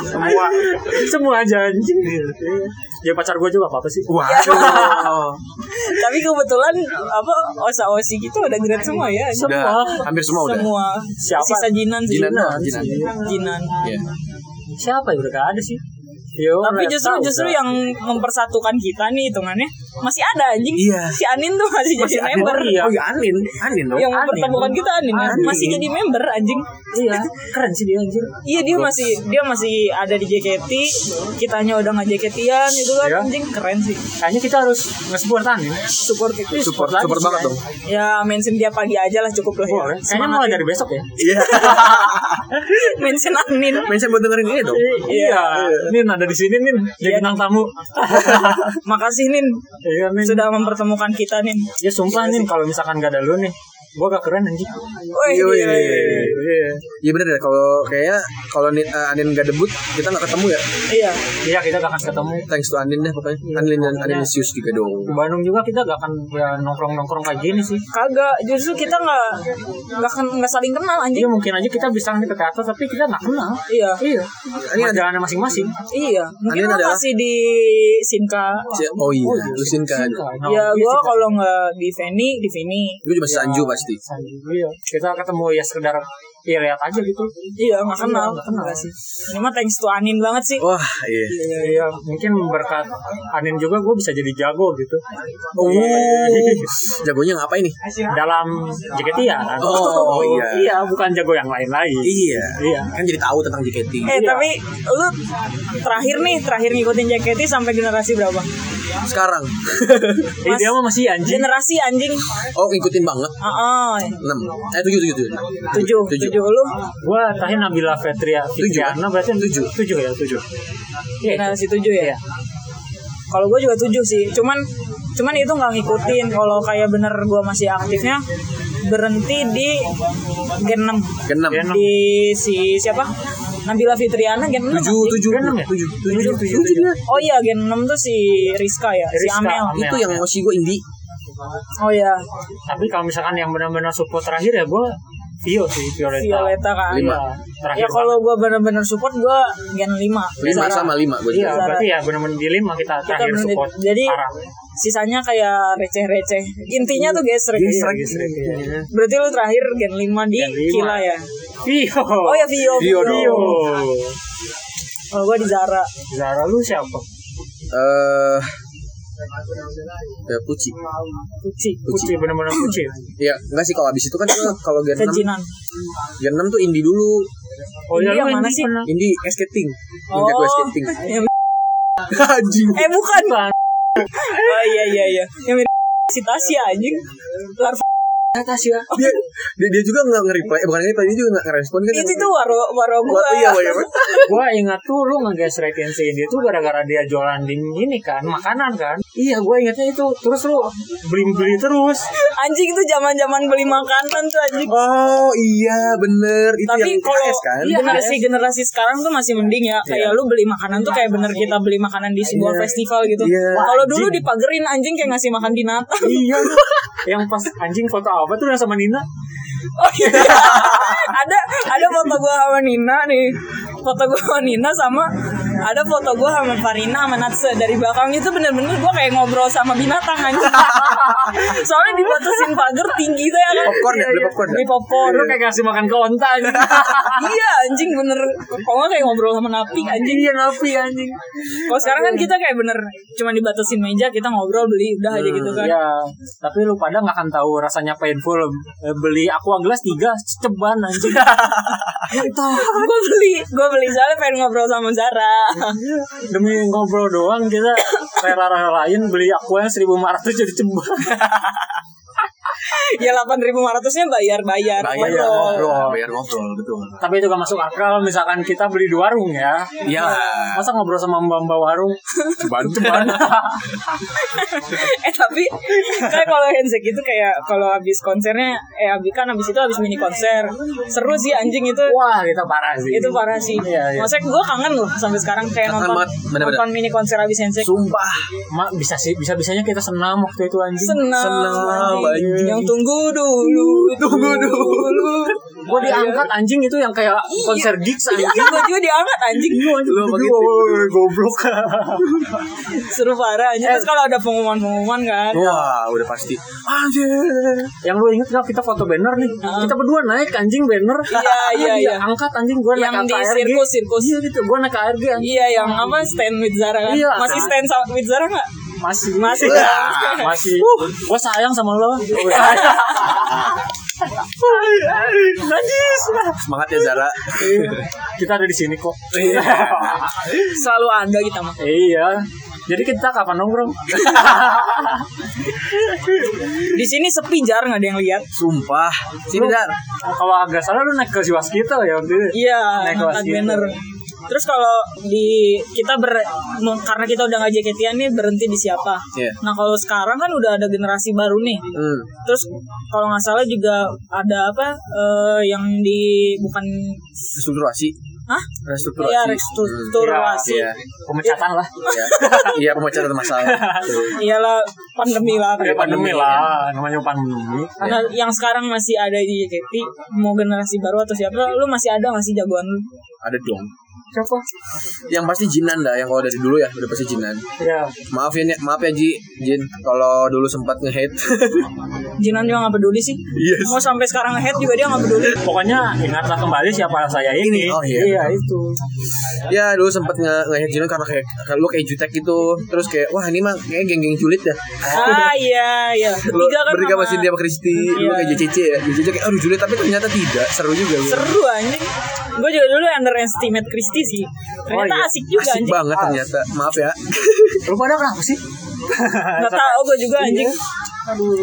B: Semua. Semua aja anjing. Ya pacar gue juga apa-apa sih. Wah.
C: tapi kebetulan apa osa osi gitu udah grade semua ya
D: Udah Hampir semua udah
C: semua
B: Siapa?
C: sisa jinan sih.
D: Jinan doang,
C: jinan,
D: Jinan.
C: Jinan.
D: Iya.
B: <laughs> Siapa ya udah gak ada sih. Yo,
C: tapi
B: nggak
C: justru
B: tahu,
C: justru
B: nggak.
C: yang mempersatukan kita nih hitungannya masih ada anjing
D: Iya.
C: si Anin tuh masih,
D: Masih
C: jadi
D: Anin.
C: member
B: Oh, iya.
D: Oh iya Anin Anin dong
C: yang
B: Anin.
C: mempertemukan kita Anin, ya.
B: Anin.
C: masih jadi member anjing
B: iya keren sih dia anjir.
C: iya dia masih dia masih ada di JKT kitanya udah nggak JKT-an itu kan
B: Iya.
C: anjing keren sih
B: Kayaknya kita harus nge-support Anin.
C: support itu
D: Support
B: lagi
D: support
B: sih,
D: banget
B: ya.
D: dong
C: ya mention dia pagi aja lah cukup lah ya.
B: Boleh. Kayaknya mulai dari besok ya.
D: Iya
C: <laughs>
D: <laughs>
C: mention Anin
D: Mention buat dengerin ini dong
B: Iya. Nin ada di sini Nin. Jadi
C: Iya.
B: bintang
C: <laughs>
B: tamu.
C: makasih Nin
B: Iya Nin.
C: sudah mempertemukan kita Nin
B: Ya sumpah
D: Iya,
B: Nin kalau misalkan gak ada lu nih. Gue gak keren anjing.
C: Woi,
D: Yoi.
C: gila, gila.
B: Iya.
D: Iya bener ya kalau kayaknya kalau Anin- eh, Anin nggak debut kita nggak ketemu ya.
C: iya
B: Iya kita gak akan ketemu.
D: Thanks to Anin deh pokoknya. Anin dan Aninisius juga
B: Di
D: dong.
B: Bandung juga kita gak akan ya, nongkrong-nongkrong kayak gini sih.
C: kagak justru kita nggak nggak ken- nggak saling kenal
B: Iya
C: anjing
B: mungkin aja kita bisa ke teater tapi kita gak kenal.
C: iya
B: Iya. Ini
D: Ini ada-
B: ada masing-masing.
C: iya mungkin
D: Anin
C: lo
D: adalah-
C: masih di Sinka
D: Si- Oh iya, Lusin kan.
B: Nah, iya
C: ya gue
B: sih,
C: kalau nggak di Feni di Feni
D: Gue juga Sanju pasti.
B: kita- Iya. Kita ketemu ya sekedar ya lihat aja gitu.
C: iya nggak
B: Iya,
C: kenal
B: nggak kenal.
C: Nggak sih ini mah thanks to Anin banget sih
D: Wah iya.
B: Iya, iya. mungkin berkat Anin juga gue bisa jadi jago gitu. Iya.
D: Oh, jagonya ngapain nih?
B: <laughs> Dalam JKT ya.
D: Oh, iya.
B: Iya, bukan jago yang lain lagi.
D: Iya.
B: Iya.
D: Kan jadi tahu tentang JKT.
C: eh tapi lu terakhir nih terakhir ngikutin JKT sampai generasi berapa
D: Sekarang.
B: Eh, dia mah masih anjing.
C: generasi anjing
D: oh ngikutin banget.
C: ah ah.
D: 6 Eh 7 7 7.
C: tujuh tujuh lu
B: Gua terakhir Nabila Fetria Fitriana berarti tujuh tujuh ya tujuh. Iya.
C: generasi tujuh ya kalau gue juga tujuh sih cuman cuman itu nggak ngikutin kalau kayak bener gue masih aktifnya berhenti di gen 6
D: Ke 6.
B: Gen
C: di si siapa Nabila Fitriana gen 6
D: 7 7
B: enam ya?
D: 7 7 7.
C: oh iya gen 6 tuh si Rizka ya si
B: Rizka,
C: Amel
B: Amel.
D: Itu yang masih gue indie.
C: oh iya
B: Tapi kalau misalkan yang benar-benar support terakhir ya gue Vio sih Violeta.
C: Violeta kan
B: Iya,
D: Lima.
B: terakhir.
C: ya kalau gue bener-bener support gue gen 5
D: 5 sama 5 gue
B: Iya,
D: juga.
C: Zara.
B: berarti ya benar-benar di lima kita
C: kita
B: terakhir
C: bener-
B: support.
C: jadi Iya,
B: Parah.
C: sisanya kayak receh-receh intinya tuh gesrek
B: Gesrek, gesrek, iya.
C: berarti lu terakhir gen 5 di
B: Gen lima.
C: Kila ya
B: Vio.
C: Oh ya Vio.
D: Vio dong.
B: Vio.
C: Kalau gue di Zara.
B: Zara lu siapa?
D: Eh ya, Puci.
C: Uci.
B: Kuci benar-benar kuci.
D: Ya, enggak sih kalau habis itu kan gua- kalau Gen 6
C: Kejinan.
D: Gen 6 tuh indie dulu.
B: Oh ya
C: Ini
B: lu
C: yang mana
B: ini
C: sih? Oh.
B: pernah-
D: Indie skating. Ninja gue skating.
C: <laughs> Yang-
D: Anjing.
C: eh bukan. oh iya iya iya. Yang mirip si Tasya anjing. Larva atas ya
D: dia, dia, dia juga nggak nge-reply eh, bukan nge-reply dia juga nggak ngerespon kan
C: itu tuh waro waro
D: Wah,
C: gua
D: iya, iya, iya.
B: Gua ingat tuh lu ngegesrekin si Indi tuh gara-gara dia jualan di ini kan, makanan kan. Iya, gua ingatnya itu. Terus lu beli-beli terus.
C: <laughs> anjing tuh zaman zaman beli makanan tuh anjing
D: oh iya bener itu
C: tapi
D: yang
C: kalau
D: KS kan Iya.
C: iya, generasi generasi sekarang tuh masih mending ya kayak lu beli makanan tuh kayak bener kita beli makanan di sebuah festival gitu
D: Iya.
C: kalau dulu dipagerin anjing kayak ngasih makan binatang
B: Iya. yang pas anjing foto apa tuh yang sama Nina?
C: oh iya
D: <laughs>
C: ada ada foto gua sama Nina nih foto gua sama Nina sama ada foto gua sama Farina sama Natsa dari belakang itu bener-bener gua kayak ngobrol sama binatang anjing
D: <laughs>
C: soalnya dibatasin pagar tinggi tuh ya kan
D: popcorn ya beli popcorn ya?
C: beli popcorn
B: Oh, Lu kayak ngasih makan ke onta anjing. <laughs>
C: iya anjing bener kok nggak kayak ngobrol sama napi anjing
B: Iya, napi anjing.
C: kalau sekarang kan kita kayak bener cuma dibatasin meja kita ngobrol beli udah aja gitu <laughs> kan
B: Iya, tapi lu pada nggak akan tahu rasanya painful Eh, beli aqua gelas tiga ceban anjing. <laughs>
C: gue beli gue beli soalnya pengen ngobrol sama Zara
D: Iya.
B: Demi ngobrol doang kita rela-relain beli aqua yang 1500 jadi ceban.
C: ya 8.500 nya bayar bayar
D: bayar
C: ngobrol
D: ngobrol bayar ngobrol betul
B: tapi itu gak masuk akal misalkan kita beli di warung ya.
D: iya
B: Masa ngobrol sama mbak-mbak warung?
D: ceban ceban
C: <laughs> eh tapi kayak kalau handshake itu kayak kalau habis konsernya eh habis kan habis itu habis mini konser seru sih anjing itu
B: <laughs> Wah, kita parah sih.
C: itu parah sih
B: Iya, iya.
C: maksudnya gue kangen loh sampai sekarang kayak
D: Kangen
C: nonton
D: banget, bener-bener.
C: nonton mini konser habis handshake
D: sumpah
B: Ma, bisa sih, bisa-bisanya kita senam waktu itu anjing.
C: senang,
D: Senang, anjing.
C: yang tunggu dulu
D: Tunggu dulu.
B: Gue diangkat anjing itu yang kayak konser gigs anjing.
C: ya. Iya, <laughs> gue juga diangkat anjing.
D: lu apa gitu
B: Woi, goblok.
C: Seru parah anjing. Terus kalau ada pengumuman-pengumuman kan.
D: wah udah pasti anjir
B: yang lu inget gak kita foto banner nih? Kita berdua naik anjing banner.
C: Iya, iya,
B: <laughs> Dia
C: iya.
B: Angkat anjing gue naik
C: Yang
B: angkat
C: di
B: ARG.
C: sirkus, sirkus.
B: Iya gitu, gue naik ARG anjing.
C: Iya, yang apa stand with Zara kan?
B: Iya,
C: Masih
B: kan.
C: stand sama with Zara nggak?
B: Masih
C: Masih.
B: masih. Gue sayang sama lo.
D: semangat ya Zara
B: kita ada di sini kok.
C: Selalu ada gitu kita mah.
B: Iya. Jadi kita kapan nongkrong?
C: Di sini sepi jar nggak ada yang lihat.
D: sumpah sini
B: Lu-
D: Zar
B: Kalau agak salah lu naik ke Siwaskita ya waktu itu.
C: Iya,
B: Naik
C: angkat
B: kelas gitu.
C: banner. Terus kalau di kita ber mau- karena kita udah nggak jaketian nih berhenti di siapa?
D: Iya.
C: Nah kalau sekarang kan udah ada generasi baru nih.
D: hmm.
C: Terus kalau nggak salah juga ada apa eh, yang di bukan
D: restrukturasi
C: Hah?
D: restrukturasi
C: Iya, restrukturasi.
D: iya
B: Pemecatan lah.
D: iya iya pemecatan masalah
C: Iyalah Iya. pandemi lah.
B: Ya pandemi lah, Iya. namanya pandemi.
C: Nah, yang sekarang masih ada di JKT, mau generasi baru atau siapa, lu masih ada nggak sih jagoan lu?
D: ada dong
B: Siapa?
D: yang pasti Jinan dah yang kalau dari dulu ya udah pasti Jinan
B: Ya,
D: maaf ya Nek. maaf ya Ji Jin kalau dulu sempat nge-hate
C: Jinan juga nggak peduli sih.
D: Yes.
C: Mau sampai sekarang head juga dia nggak peduli.
B: pokoknya ingatlah kembali siapa saya ini.
D: Ini, oh iya.
B: itu.
D: ya dulu sempat nge- nge-hate Jinan karena kayak kalau kayak jutek gitu terus kayak wah ini mah kayak geng-geng culit ya
C: Ah iya iya.
D: Lu
C: Bertiga kan
D: bertiga
C: sama-
D: masih dia sama Kristi lu
C: Iya.
D: kayak JCC ya JCC kayak aduh culit tapi ternyata tidak seru juga lu.
C: Seru anjing. Gue juga dulu underestimate Christy sih.
B: iya.
C: Ternyata asik juga
D: asik
C: anjing.
D: banget ternyata maaf
C: <laughs>
D: ya
B: Lu pada kenapa sih?
C: Gak tau gue juga
B: Iya.
C: anjing.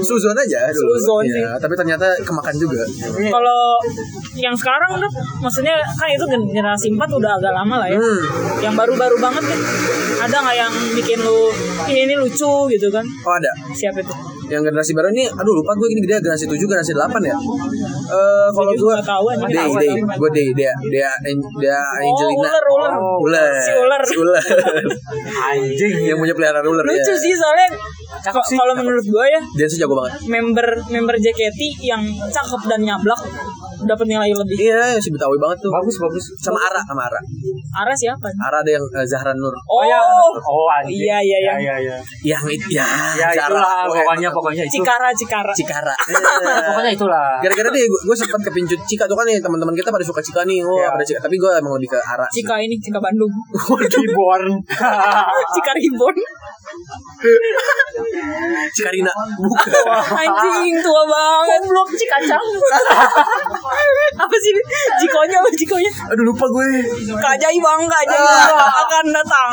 D: Suzon aja dulu
C: Suzon sih.
D: ya, tapi ternyata kemakan juga
C: Kalau yang sekarang kan maksudnya kan itu generasi 4 udah agak lama lah ya.
D: Hmm.
C: Yang baru-baru banget nih ada nggak yang bikin lu ini, ini lucu gitu kan?
D: oh ada
C: Siapa itu?
D: yang generasi baru ini aduh lupa gue ini dia generasi 7 generasi 8 ya eh kalau gue
C: nggak tahu, anjing. Oh,
D: day day gue day dia dia dia Angelina Oh,
C: ular, ular.
D: ular
C: Si ular.
D: Si
C: <laughs>
D: ular.
B: Anjing.
D: yang punya peliharaan ular
C: Lucu
D: ya.
C: sih soalnya ko- kalau menurut gue ya
D: dia sih jago banget
C: member member JKT yang cakep dan nyablak dapat nilai lebih.
D: iya si Betawi banget tuh
B: Bagus, bagus.
D: sama Ara sama Ara
C: Ara siapa?
D: Ara ada yang eh, Zahra Nur
C: ya, Oh,
B: Oh, anjing.
C: Iya, iya, iya.
B: Iya, iya.
D: yang itu ya,
B: Ya,
D: Zahra.
B: itulah
D: Oke.
B: pokoknya pokoknya itu.
C: Cikara Cikara.
D: Cikara Eh.
B: Pokoknya itulah.
D: gara-gara deh gue, gue sempat kepincut Cika tuh kan nih teman-teman kita pada suka Cika nih wah
B: Iya.
D: pada Cika tapi gue emang lebih ke Ara
C: <laughs> Cika ini Cika Bandung.
B: Reborn.
C: Cika Reborn.
D: Cikarina bukan
C: Anjing tua banget Blok cikacang <laughs> Apa sih ini? Jikonya apa jikonya
D: aduh lupa gue
C: Kak Jai bang Kak Jai akan datang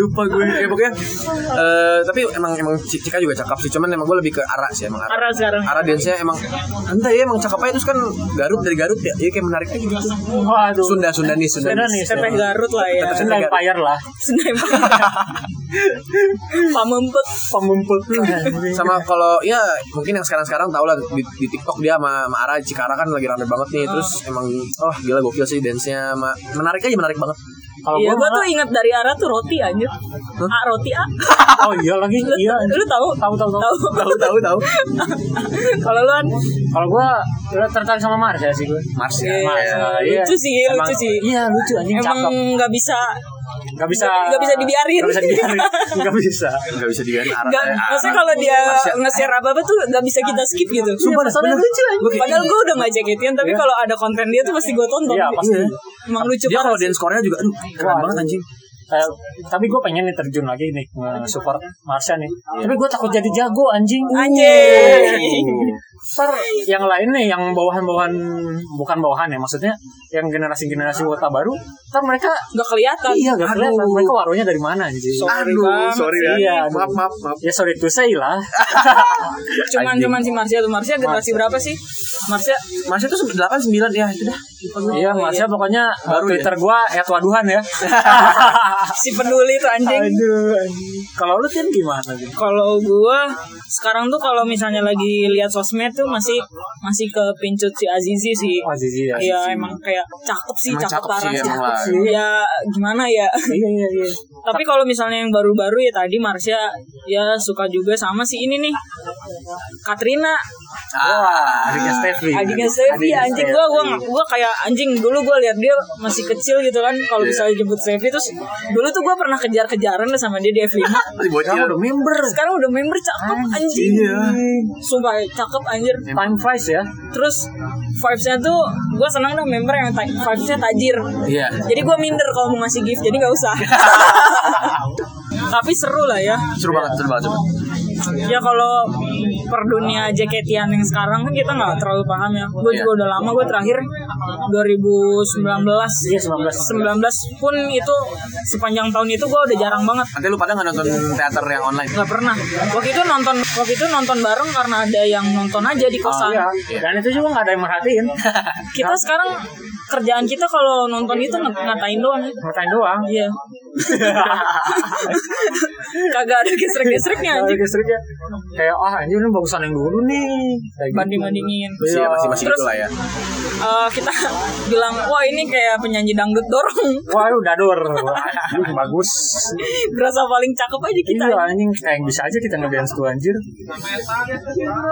D: lupa gue ya pokoknya eh, tapi emang emang Ci- Cika juga cakep sih cuman emang gue lebih ke Ara sih emang Ara
C: Arah sekarang
D: Ara dance-nya emang entah ya emang cakep aja terus kan Garut dari Garut ya jadi kayak menariknya gitu
B: Waduh.
D: Sunda Sundanis Sundanis
B: Sundanis.
C: Tepeh Garut lah ya
D: Tetep
B: Sunda Empire lah.
C: Senai Pamempek
B: Pemumpul.
D: sama kalau ya mungkin yang sekarang-sekarang tau lah di, di TikTok dia sama, sama Ara Cikara kan lagi rame banget nih terus emang oh gila gokil sih dance-nya sama- menarik aja menarik banget
B: <laughs> Kalau gua
C: Iya gue
B: malah-
C: tuh inget dari Ara tuh roti anjir A roti A
B: Oh iya lagi.
C: Lu-
B: Iya.
C: <laughs> Lu tahu?
B: Tahu tahu tahu.
C: Tahu
D: tahu tahu tahu
C: Kalau lu kan
B: Kalau gua gua tertarik sama Mars ya sih gua.
D: Mars ya
C: Iya.
B: Mars, nah, iya.
C: Lucu sih, lucu
B: Emang-
C: sih.
B: Iya lucu anjing cakep.
C: Emang nggak bisa
B: Gak bisa.
C: nggak bisa dibiarin.
B: Gak bisa dibiarin. Gak bisa.
D: nggak bisa dibiarin Ara
C: nggak
D: eh,
C: maksudnya
D: Ara.
C: kalau dia
D: Mars ya.
C: nge-share apa-apa tuh nggak bisa kita skip gitu
D: Sumpah,
C: Iya, soalnya
D: bener.
C: lucu aja.
D: Gua kayak-
C: Padahal gue udah nggak jaketin Tapi kalau ada konten dia tuh pasti gue tonton
B: Iya, pasti.
D: Iya.
C: Emang lucu
D: dia kalau
C: banget
D: dance Korea juga aduh keren
B: Wah.
D: banget anjing
B: Eh, tapi gue pengen nih terjun lagi nih support Marsha nih. Tapi gue takut jadi jago anjing.
C: Anjing
B: Ntar yang lain nih yang bawahan-bawahan bukan bawahan ya maksudnya yang generasi-generasi wota baru, ntar mereka
C: Gak kelihatan
B: iya gak kelihatan mereka waronya dari mana anjing.
D: aduh sorry ya
B: Iya, aduh.
D: maaf maaf maaf
B: Ya sorry to say lah.
C: Cuman cuman si Marsha tuh Marsha generasi berapa sih? Marsha
D: Marsnya tuh 89 ya itu dah
B: iya, Marsha pokoknya baru
D: Baru ya?
B: Twitter gua @waduhan ya.
C: si peduli tuh anjing
B: Aduh. anjing. Kalau lu kan gimana sih?
C: kalau gua sekarang tuh kalau misalnya lagi lihat sosmed tuh masih masih ke pincut si Azizi sih
B: Oh, Zizi ya.
C: Iya emang kayak cakep sih,
D: Emang
C: cakep,
D: cakep
C: parah
D: sih, emang
C: cakep
D: lah.
C: sih. <laughs> Ya gimana ya.
B: Iya iya iya.
C: Tapi kalau misalnya yang baru-baru ya tadi Marsha ya suka juga sama si ini nih. Katrina,
B: Wah, adiknya Steffi.
C: adiknya Steffi
B: Adiknya
C: anjing gua gua gua kayak anjing dulu gua lihat dia masih kecil gitu kan kalau misalnya jemput Steffi terus dulu tuh gua pernah kejar-kejaran lah sama dia di F5.
D: masih bocil
B: Kamu member.
C: Sekarang udah member cakep anjing. Sumpah cakep anjir.
B: Time flies ya.
C: Terus vibes-nya tuh gue senang dong member yang ta- vibes-nya tajir.
D: Iya.
C: Jadi gue minder kalau mau ngasih gift, jadi nggak usah. Tapi seru lah ya.
D: seru banget seru banget seru banget.
C: Ya kalau per dunia jaketian yang sekarang kan kita nggak terlalu paham ya. Gue
D: Iya.
C: juga udah lama, gue terakhir 2019.
B: Iya, 19.
C: 19 pun itu sepanjang tahun itu gue udah jarang banget
D: nanti lu pada nggak nonton teater yang online
C: nggak pernah waktu itu nonton waktu itu nonton bareng karena ada yang nonton aja di
D: Oh,
C: kosan
B: Iya. Dan itu juga nggak ada yang merhatiin.
C: kita sekarang kerjaan kita kalau nonton itu ng- ngatain doang ya.
B: Merhatiin doang.
C: Iya. <laughs> Kagak ada gesrek-gesreknya
B: <laughs> Kalau
C: anjing.
B: listriknya kayak ah anjing ini bagusan yang dulu nih. Kayak gitu.
C: Banding-bandingin.
D: masih
B: Iya.
D: masih masih
C: Terus-
D: gitu lah ya
C: Eh, kita <laughs> bilang, wah ini kayak penyanyi dangdut dorong. <laughs>
B: Waduh <laughs> dador. Anjing bagus.
C: Berasa paling cakep aja kita.
B: Iya anjing kayak bisa aja kita ngedance tuh anjir.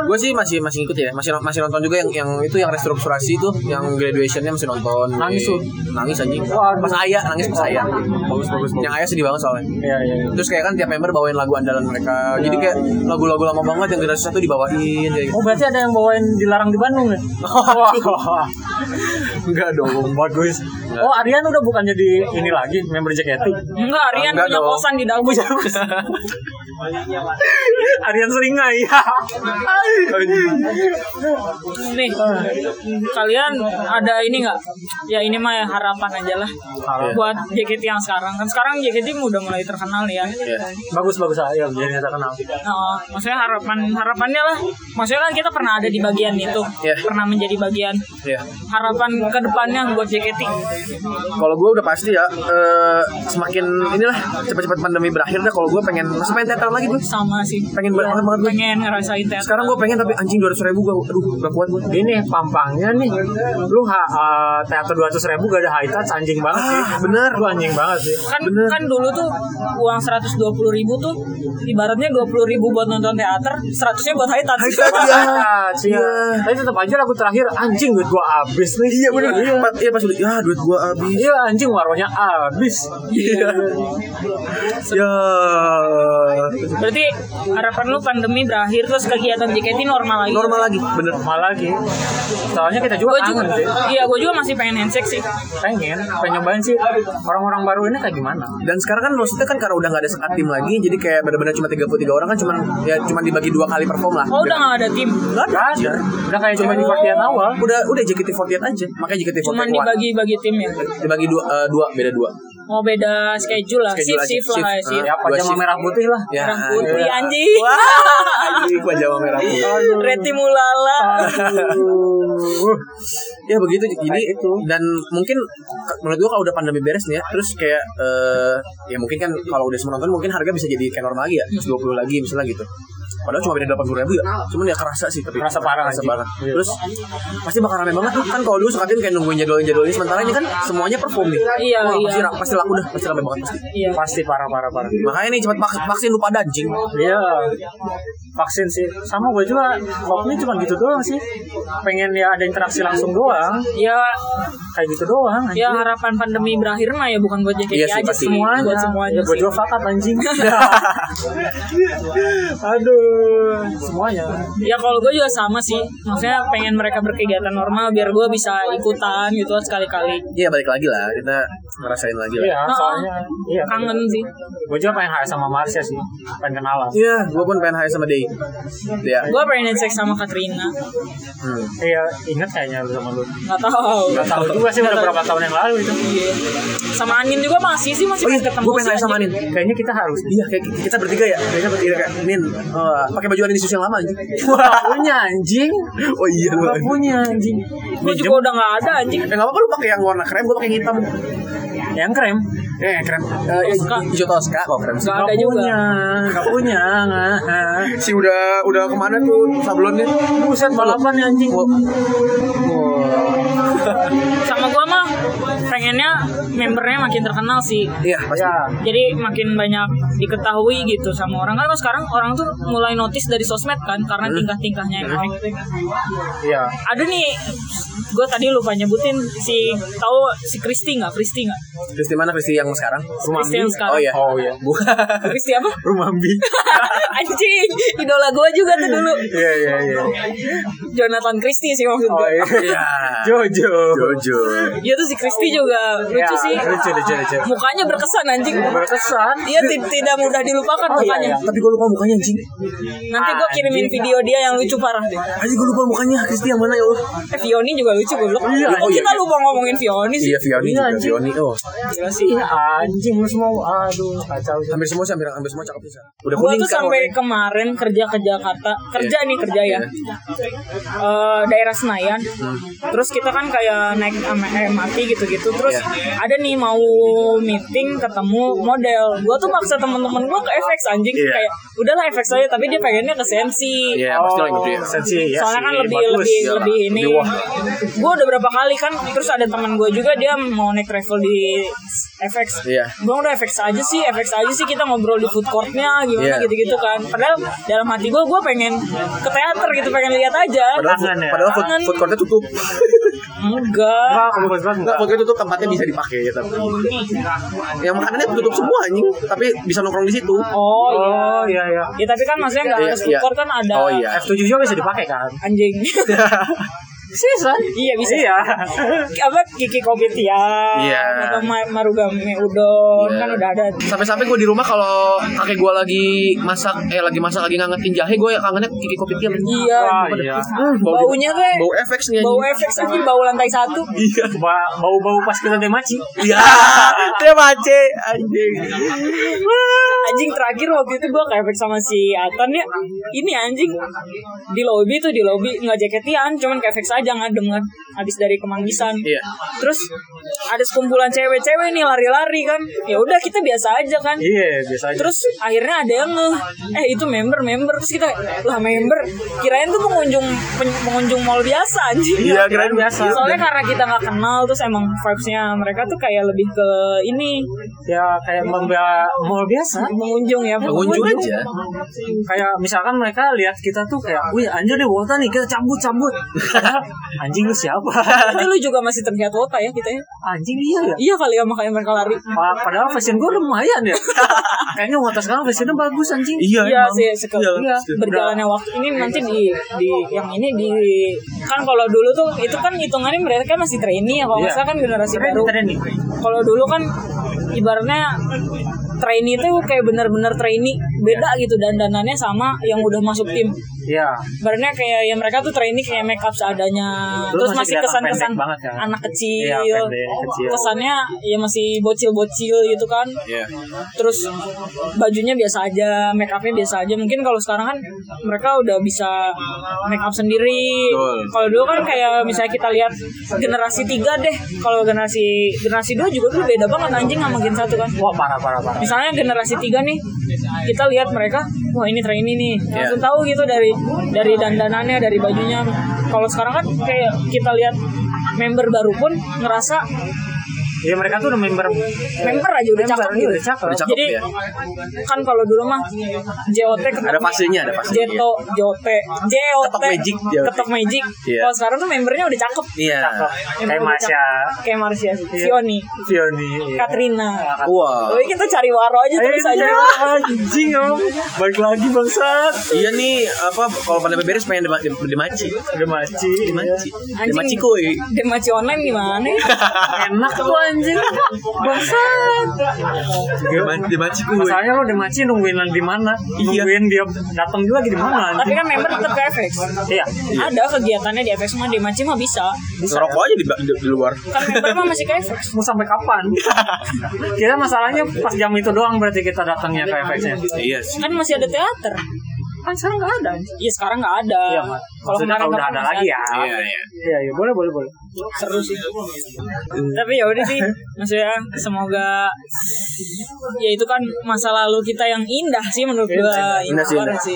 D: gue sih masih masih ikut ya masih masih nonton juga yang yang itu yang restrukturasi tuh yang graduationnya masih nonton
B: Nangis tuh.
D: Eh, nangis anjing
B: Waduh.
D: pas ayah nangis pas ayah
B: Bagus bagus
D: yang ayah sedih banget soalnya
B: Iya iya. iya.
D: terus kayak kan tiap member bawain lagu andalan mereka jadi kayak lagu-lagu lama banget yang generasi satu dibawain kayak gitu.
B: Oh berarti ada yang bawain dilarang di Bandung ya? Wah,
D: <laughs> enggak dong
B: bagus. Oh Aryan udah bukan jadi ini lagi member JKT.
C: Enggak, Rian
D: Enggak
C: punya
D: dong.
C: kosan di dalam.
B: Aryan seringai.
D: <laughs>
C: Nih, kalian ada ini nggak? Ya ini mah ya harapan aja lah.
D: Iya.
B: Harapan.
C: Buat JKT yang sekarang. Kan sekarang JKT udah mulai terkenal ya.
D: Iya.
B: bagus bagus ayo jadi terkenal.
C: Oh, maksudnya harapan harapannya lah. Maksudnya kan kita pernah ada di bagian itu,
D: Iya.
C: pernah menjadi bagian.
D: Iya.
C: Harapan ke depannya buat JKT.
D: Kalau gue udah pasti ya eh, semakin inilah cepat-cepat pandemi berakhir dah kalau gue pengen masih pengen teater lagi gue.
C: Sama sih. Iya,
D: Pengen banget banget gue.
C: Pengen ngerasain teater.
D: Sekarang gue pengen tapi anjing 200 ribu gue aduh gak kuat gue.
B: Ini pampangnya nih, lu ha, uh, teater dua ribu gak ada high touch anjing banget sih.
D: Ah, bener.
B: lu anjing banget sih.
C: kan kan dulu tuh kan uang 120 puluh ribu tuh ibaratnya dua puluh ribu buat nonton teater, seratusnya buat high touch.
D: iya.
B: Ah, cia. Tapi tetap aja lagu terakhir anjing duit gua habis nih.
D: Iya bener. Pas- Iya pas udah, ya duit gua habis.
B: Iya anjing warungnya habis.
D: Iya. Ya.
C: Berarti harapan lu pandemi berakhir terus kegiatan JKT normal lagi.
D: Normal lagi, bener.
B: Normal lagi. Soalnya kita juga
C: Gue
B: kangen
C: juga,
B: sih.
C: iya gue juga masih pengen handshake sih.
B: Pengen, pengen nyobain sih orang-orang baru ini kayak gimana.
D: Dan sekarang kan maksudnya kan karena udah gak ada sekat tim lagi, jadi kayak benar-benar cuma 33 orang kan cuman ya cuman dibagi dua kali perform lah.
C: Oh udah gak ada tim,
D: Nggak ada.
B: Gak ada. Udah kayak cuma di bagian awal.
D: Udah udah JKT48 aja. Makanya JKT48.
C: cuman dibagi-bagi tim ya.
D: dibagi dua, eh, dua beda dua.
C: Mau beda schedule lah, shift
D: Schedule aja,
C: shift lah,
D: shift.
C: shift.
B: Ya,
D: Dua
B: panjang sama
D: shift.
B: merah putih lah.
D: Ya.
C: Merah putih
D: ayo.
C: anjing.
D: Wah, anjing gua Jawa merah putih. <laughs>
C: Retimulala.
B: Aduh.
D: ya begitu jadi
B: Kayak gitu.
D: dan mungkin ke- menurut gua kalau udah pandemi beres nih ya terus kayak eh, ya mungkin kan kalau udah semua nonton mungkin harga bisa jadi kayak normal lagi ya
B: Hmm.
D: 120 lagi misalnya gitu padahal cuma beda 80 ribu ya cuman ya kerasa sih tapi
B: Kerasa parah,
D: kerasa
B: anjing.
D: parah.
B: Iya.
D: terus pasti bakal rame banget tuh kan kalau dulu sekatin kayak nungguin jadwal jadwal ini sementara ini kan semuanya perform nih
C: Iya,
D: Wah,
C: iya.
D: pasti, ra- pasti laku dah pasti rame banget pasti
C: Iya.
B: <laughs> Pasti parah parah parah.
D: makanya nih cepat vaks- vaksin lupa anjing
B: Iya, vaksin sih. Sama gue juga, hobinya cuma gitu doang sih. Pengen ya ada interaksi langsung doang,
C: Ya,
B: kayak gitu doang.
C: ya harapan pandemi berakhir mah ya bukan buat JKT
D: Iya sih,
C: aja
D: pasti.
C: semuanya, buat semuanya.
B: Ya, gue
C: sih.
B: juga fakat anjing. Iya. Aduh, semuanya.
C: Ya kalau gue juga sama sih, maksudnya pengen mereka berkegiatan normal biar gue bisa ikutan gitu sekali-kali.
D: Iya balik lagi lah kita ngerasain lagi lah
B: Iya, soalnya. Iya.
C: Kangen sih.
B: Gue juga pengen HS sama Marsha sih, pengen kenalan.
D: Iya, gua pun pengen hai sama Day. Iya.
C: Gue pengen handshake sama Katrina.
D: Hmm.
B: Iya, inget kayaknya lu sama lu.
C: Gak tahu.
B: Gak tahu juga sih udah berapa tahun yang lalu itu.
C: Iya. Sama Anin juga masih sih masih
D: Oh iya,
C: pengen ketemu
D: gue pengen
C: sih,
D: nanya sama
C: anjing.
D: Anin.
B: Kayaknya kita harus
D: Iya, kayak kita bertiga ya. Kayaknya bertiga kayak Min. eh, pakai baju Anin Isus yang lama aja.
B: <laughs> punya anjing,
D: oh iya lu.
B: gak punya anjing.
C: Gue juga udah gak ada anjing.
D: Eh, nggak apa-apa lu pakai yang warna krem, gua pakai yang hitam.
B: Yang krem,
D: Eh, yang krem. Eh, yang
C: Tosca.
D: hijau Tosca kok krem. sih.
C: Nggak
B: gak
C: ada juga.
B: punya, gak punya. nggak.
D: Si udah udah kemana tuh sablonnya? Oh.
B: Buset balapan ya anjing. Oh.
C: Sama gue mah pengennya membernya makin terkenal sih.
D: Iya, pasti.
B: Ya,
C: Jadi makin banyak diketahui gitu sama orang kan kalau sekarang orang tuh mulai notice dari sosmed kan karena
D: Hmm.
C: tingkah-tingkahnya yang aneh.
B: iya.
C: Ada nih gue tadi lupa nyebutin si tahu si Kristi nggak Kristi nggak
D: Kristi mana Kristi yang sekarang?
C: Kristi yang sekarang
D: Oh iya.
B: Oh
D: <laughs>
B: iya.
D: Bukan.
C: Kristi
D: <laughs>
C: apa
B: Rumah Bi.
C: anjing idola gue juga tuh
D: <laughs>
C: dulu
B: Iya iya <laughs> iya.
C: Jonathan Christie sih maksud
B: Oh
C: gue
B: iya.
D: Iya.
B: Jojo.
D: Jojo.
C: Iya tuh si Kristi juga
B: Ya,
C: lucu sih.
B: Lucu lucu lucu.
C: Mukanya berkesan anjing.
B: Berkesan.
C: Iya ti- tidak mudah dilupakan
B: Oh, iya,
C: mukanya.
B: iya. Ah,
D: Tapi gua lupa mukanya anjing.
C: Nanti gue kirimin video dia yang lucu parah deh.
D: Anjing gua lupa mukanya Kristi yang mana ya Allah.
C: Eh, Vioni juga lucu goblok.
B: Iya,
C: Kok
D: oh, iya,
C: kita
D: iya.
C: lupa ngomongin Vioni sih.
D: Iya, Vioni
B: Iya,
D: juga.
B: anjing.
D: Vioni. Oh,
C: Gila sih.
B: Iya anjing lu semua. Aduh kacau. sih.
D: hampir semua sih, hampir, hampir semua cakep sih. Udah
C: Gue
D: kuning
C: tuh
D: kan
C: sampai
D: warnanya.
C: kemarin kerja ke Jakarta, kerja nih kerja ya, Eh, daerah Senayan.
D: Hmm.
C: Terus kita kan kayak naik sama MRT gitu-gitu. Terus
D: Ya.
C: ada nih mau meeting ketemu model. Gue tuh maksa temen-temen gue ke FX anjing
D: Iya.
C: kayak, udahlah FX aja. Tapi dia pengennya ke Sensi.
D: Iya, pasti lah yang gede.
B: Oh, sensi
D: Iya
B: ya.
C: Soalnya kan
B: sih,
C: lebih
B: bagus.
C: lebih
D: ya.
C: lebih ini.
D: Lebih wah.
C: Gue udah berapa kali kan terus ada teman gue juga dia mau naik travel di FX.
D: Iya.
C: Gue udah FX aja sih, FX aja sih kita ngobrol di food courtnya gimana
D: Iya.
C: gitu-gitu kan. Padahal dalam hati gue gue pengen ke teater gitu pengen lihat aja.
D: Padahal, food,
B: Tangan ya.
D: padahal food,
C: Tangan.
D: food courtnya tutup.
C: Enggak.
B: Enggak, kamu bagus banget.
D: Enggak, waktu itu tuh tempatnya bisa dipakai ya, tapi yang makanannya tutup semua anjing, tapi bisa nongkrong di situ.
C: Oh iya.
B: Oh iya iya.
C: Ya tapi kan maksudnya nggak
D: Iya,
C: harus food
D: iya.
C: court kan ada
D: Oh iya.
B: F7 juga bisa dipakai kan?
D: <laughs>
C: anjing. Seriusan? Iya bisa.
B: Iya.
C: Apa Kiki Kopitiam
D: Iya.
C: atau Ma- Marugame Udon
D: Iya.
C: kan udah ada.
D: Sampai-sampai gue di rumah kalau kakek gue lagi masak, eh lagi masak lagi ngangetin jahe, gue kangennya kiki kopi tiam.
C: Iya.
B: Wah, iya.
D: Hmm, bau
C: Baunya
D: dia-
C: teh
D: bau FX nih
C: bau
D: anjing.
C: efek aja bau lantai satu
D: Iya.
B: Ba- Bau-bau pas kita demaci.
D: <laughs> Iya. Dia mace anjing.
C: anjing terakhir waktu itu gua ke efek sama si Atan ya ini anjing di lobby tuh di lobby nggak jaketian cuman ke efek aja ngadem kan habis dari kemanggisan
D: Iya.
C: terus ada sekumpulan cewek-cewek nih lari-lari kan ya udah kita biasa aja kan
B: Iya, biasa aja.
C: terus akhirnya ada yang ngeh eh itu member member terus kita lah member kirain tuh pengunjung pen- pengunjung mall biasa anjing
B: Iya, kirain biasa.
C: soalnya karena kita nggak kenal terus emang vibesnya mereka tuh kayak lebih ke ini
B: ya kayak membela mall biasa.
C: pengunjung ya
D: Pengunjung aja.
B: Kayak misalkan mereka lihat kita tuh kayak, wih anjir deh wota nih, kita cabut-cabut. Anjing lu siapa? <laughs>
C: kan? tapi lu juga masih terlihat wota ya kita ya
B: Anjing iya ya.
C: iya kali ya makanya mereka lari
B: Pa- Padahal fashion gue lumayan <laughs> ya. Kayaknya wota sekarang fashionnya bagus anjing.
C: Iya
D: emang.
C: sih, seke-
D: Iya,
C: iya,
D: pasti.
C: berjalannya waktu ini nanti di di yang ini di kan kalau dulu tuh itu kan hitungannya mereka masih trainee ya kalau
B: Iya.
C: misalkan kan generasi
B: Keren
C: baru.
B: keren nih.
C: Kalau dulu kan ibaratnya trainee tuh kayak benar-benar trainee beda gitu dandanannya sama yang udah masuk tim.
B: Iya.
C: Ibaratnya kayak yang mereka tuh trainee kayak make up seadanya.
B: Terus
C: Terus,
B: masih
C: masih
B: kelihatan
C: kesan-kesan
B: pendek banget kan?
C: anak kecil.
B: Iya, pendek,
A: Oh,
B: kecil.
C: Kesannya ya masih bocil-bocil gitu kan
A: Iya.
C: terus bajunya biasa aja, make upnya biasa aja. Mungkin kalau sekarang kan mereka udah bisa make up sendiri.
A: Betul.
C: Kalau dulu kan kayak misalnya kita lihat generasi tiga deh, kalau generasi generasi dua juga dulu beda banget anjing sama gen satu kan.
B: Wah Oh, parah parah parah.
C: Misalnya generasi tiga nih, kita lihat mereka, wah ini trainee nih,
D: Iya.
C: langsung tahu gitu dari dari dandanannya, dari bajunya. Kalau sekarang kan kayak kita lihat member baru pun ngerasa
B: Iya mereka tuh udah member.
C: member aja udah cakep
B: Iya,
C: gitu.
B: udah cakep.
D: Udah cakep
C: Jadi
D: ya.
C: kan kalau dulu mah JOT ketok
D: Ada fasenya, ada fasenya.
C: Jeto, JOT, JOT.
D: Ketok magic, JOT.
C: Ketok magic.
D: Iya.
C: Kalau sekarang tuh membernya udah cakep.
D: Iya.
B: Kayak
C: Member udah
B: Masya,
C: cakep. Kayak Marsha, Sioni,
B: Fioni. iya.
C: Katrina.
D: Wah.
C: Oh, kita cari waro aja
B: Eh,
C: terus aja.
B: iya, anjing om. Balik lagi bangsat.
D: Iya nih, apa kalau pandemi beres pengen dema- dem- demaci.
B: Gemaci.
D: Demaci.
C: Anjing.
D: Demaci
B: eh.
D: kuy.
C: Demaci online
B: <laughs>
C: gimana?
B: Enak tuh anjing.
C: Bangsat.
D: Dema- Demaci kuy.
B: Masalahnya lo demaci nungguin di mana?
D: Iya.
B: Nungguin dia datang juga lagi di mana
D: <laughs>
C: Tapi
B: anjing?
C: kan member tetap ke FX.
B: Iya.
C: Ada kegiatannya di FX mah Demaci mah bisa.
D: Ngerokok aja di, di, di luar.
C: Kan member mah masih ke FX.
B: Mau sampai kapan? kita masalahnya pas jam itu doang berarti kita datangnya ke FX-nya.
D: Iya sih.
C: Kan masih ada teater.
B: Kan sekarang nggak ada. anjing.
C: Iya sekarang nggak ada.
B: Iya, Mat.
C: Kalau
B: Maksudnya kalau
C: kemarin
B: udah ada
C: masih
B: lagi ya.
D: Iya, iya.
B: Iya, iya, boleh, boleh, boleh.
C: seru sih tapi ya udah sih maksudnya semoga ya itu kan masa lalu kita yang indah sih menurut
B: Iya,
C: gue
D: Indah sih,
C: parah
D: indah.
C: sih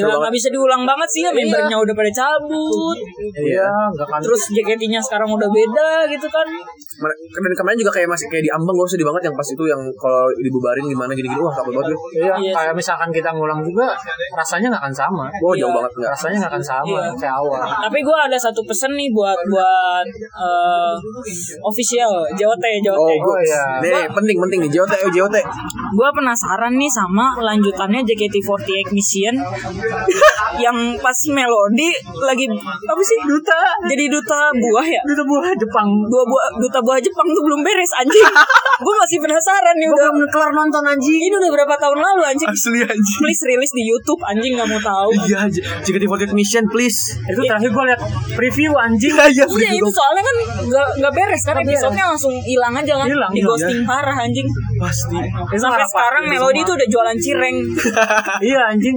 C: gila nggak bisa diulang banget sih membernya udah pada cabut
B: Iya, enggak kan.
C: terus JKT-nya sekarang udah beda gitu kan
D: Mer- Dan kemarin juga kayak masih kayak di ambang gue sedih banget yang pas itu yang kalau dibubarin gimana gini-gini wah takut banget. gue.
B: Iya,
C: Iya
B: kayak misalkan kita ngulang juga rasanya nggak akan sama.
D: Wah Oh, jauh banget nggak.
B: Rasanya nggak akan sama
C: Iya.
B: kayak awal.
C: tapi gue ada satu pesen nih buat buat eh, official JOT JOT
D: Oh,
B: Oh,
D: gue.
B: iya.
D: Nih, penting penting nih JOT, oh, JOT.
C: gue penasaran nih sama lanjutannya JKT48 Mission <laughs> yang pas melodi lagi apa sih duta jadi duta buah ya
B: Itu buah Jepang.
C: dua buah duta buah Jepang tuh belum beres anjing gue masih penasaran nih udah
B: kelar nonton anjing.
C: ini udah berapa tahun lalu anjing
D: Asli aja.
C: please rilis di YouTube anjing nggak mau tahu
D: Iya aja. Jika di Mission please.
B: Itu terakhir gue lihat preview anjing.
D: Iya,
C: Iya itu soalnya kan nggak nggak beres kan episodenya langsung hilang aja kan
B: Hilang,
C: di
B: hilang,
C: ghosting parah anjing
D: Pasti.
C: sampai
B: harapan.
C: sekarang
B: Itu
C: melodi
B: semua.
C: tuh udah jualan cireng
B: iya anjing.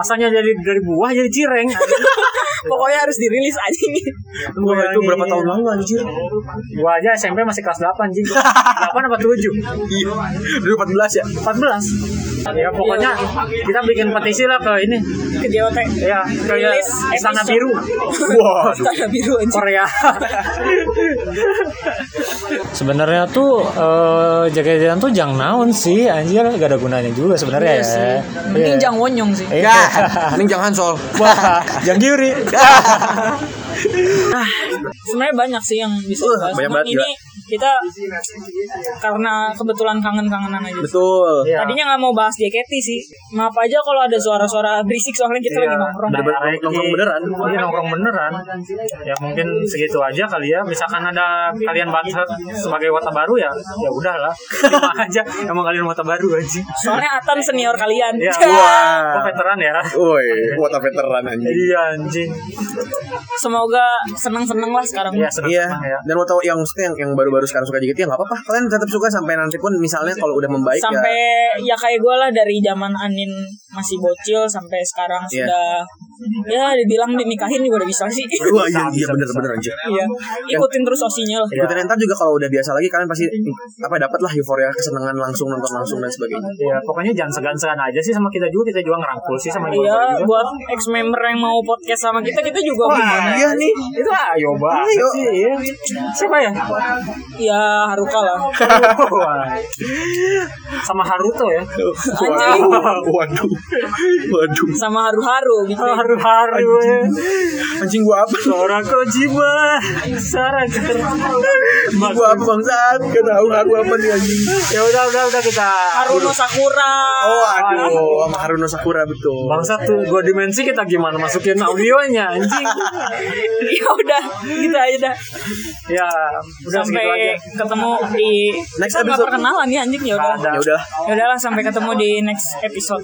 B: Asalnya dari dari buah jadi cireng.
D: <laughs>
C: pokoknya harus dirilis anjing
D: Wah,
C: Iya,
D: itu berapa tahun lalu anjir?
B: Gua aja SMP masih kelas 8 anjing. 8 apa 7?
D: Iya. 2014 ya.
B: 14. Ya pokoknya
C: Iya,
B: kita bikin petisi lah ke ini.
C: ke JOT
B: Ya, ke
C: Rilis
B: Istana
C: episode.
B: Biru.
D: Wah.
C: Istana biru anjing
B: Korea. sebenarnya tuh eh, jaga-jagaan tuh jang naon sih anjir gak ada gunanya juga sebenarnya
C: Iya sih.
B: ya.
C: Mending
B: Iya.
C: Jang Wonyong sih.
B: Iya.
D: Mending jangan sol.
B: Wah, jang kiri.
C: Sebenarnya banyak sih yang bisa
D: Uh,
C: dibahas.
D: banyak
C: Cuman
D: banget,
C: ini kita karena kebetulan kangen-kangenan aja.
D: Betul.
B: Iya.
C: Tadinya nggak mau bahas JKT sih. Maaf aja kalau ada suara-suara berisik soalnya kita lagi nongkrong.
B: Nah,
D: Bener-bener
B: Reki.
D: nongkrong beneran.
B: Iya nongkrong beneran. Ya mungkin segitu aja kali ya. Misalkan ada kalian bangsat sebagai wata baru ya, ya udahlah. Terima <laughs> aja. Emang kalian wata baru aja.
C: Soalnya Atan senior kalian.
B: <laughs>
C: <laughs>
B: Iya. Kok
D: Wah.
B: veteran ya?
D: Woi, what a veteran anjing.
B: Iya anjing.
C: Semoga seneng-seneng lah sekarang.
B: Iya senang
D: Iya,
B: ya.
D: dan mau tahu yang maksudnya yang, yang baru-baru sekarang suka JKT ya nggak apa-apa. Kalian tetap suka sampai nanti pun misalnya kalau udah membaik
C: sampai
D: ya.
C: ya kayak gue lah dari zaman Anin masih bocil sampai sekarang
D: Iya.
C: sudah ya dibilang dinikahin juga udah bisa sih
D: Wah, iya, iya bener bener anjir.
C: <laughs> Iya, ikutin terus osinya lah.
D: Ikutin entar juga kalau udah biasa lagi kalian pasti apa dapat lah euforia kesenangan langsung nonton langsung dan sebagainya.
B: Ya, pokoknya jangan segan-segan aja sih sama kita juga, kita juga ngerangkul sih sama
C: Iya,
B: ibu-ibu juga.
C: buat ex member yang mau podcast sama kita, kita juga
B: Wah,
C: gimana?
B: iya nih. Itu ayo banget
D: Ayo.
B: sih. Iya. Siapa ya?
C: Ya Haruka lah.
B: Wah. sama Haruto ya.
C: Anjing.
D: waduh. Waduh.
C: Sama haru-haru gitu.
B: Haru-haru ya.
D: Anjing gua apa?
B: Seorang Kojima. Sarah
D: Gua apa bangsat? Gak tahu aku apa nih anjing.
B: Ya udah udah udah kita
C: Haruno Sakura.
D: Oh, aduh, sama Haruno Sakura betul.
B: Bangsa tuh gua dimensi kita gimana masukin audionya anjing.
C: <laughs> ya udah, gitu aja dah.
B: ya, udah segitu aja.
C: Sampai ketemu di
D: Next
C: Kita nggak
D: episode.
C: perkenalan ya anjing ya udah.
B: Nggak ada.
D: Ya udahlah.
C: Ya udahlah sampai ketemu di next episode.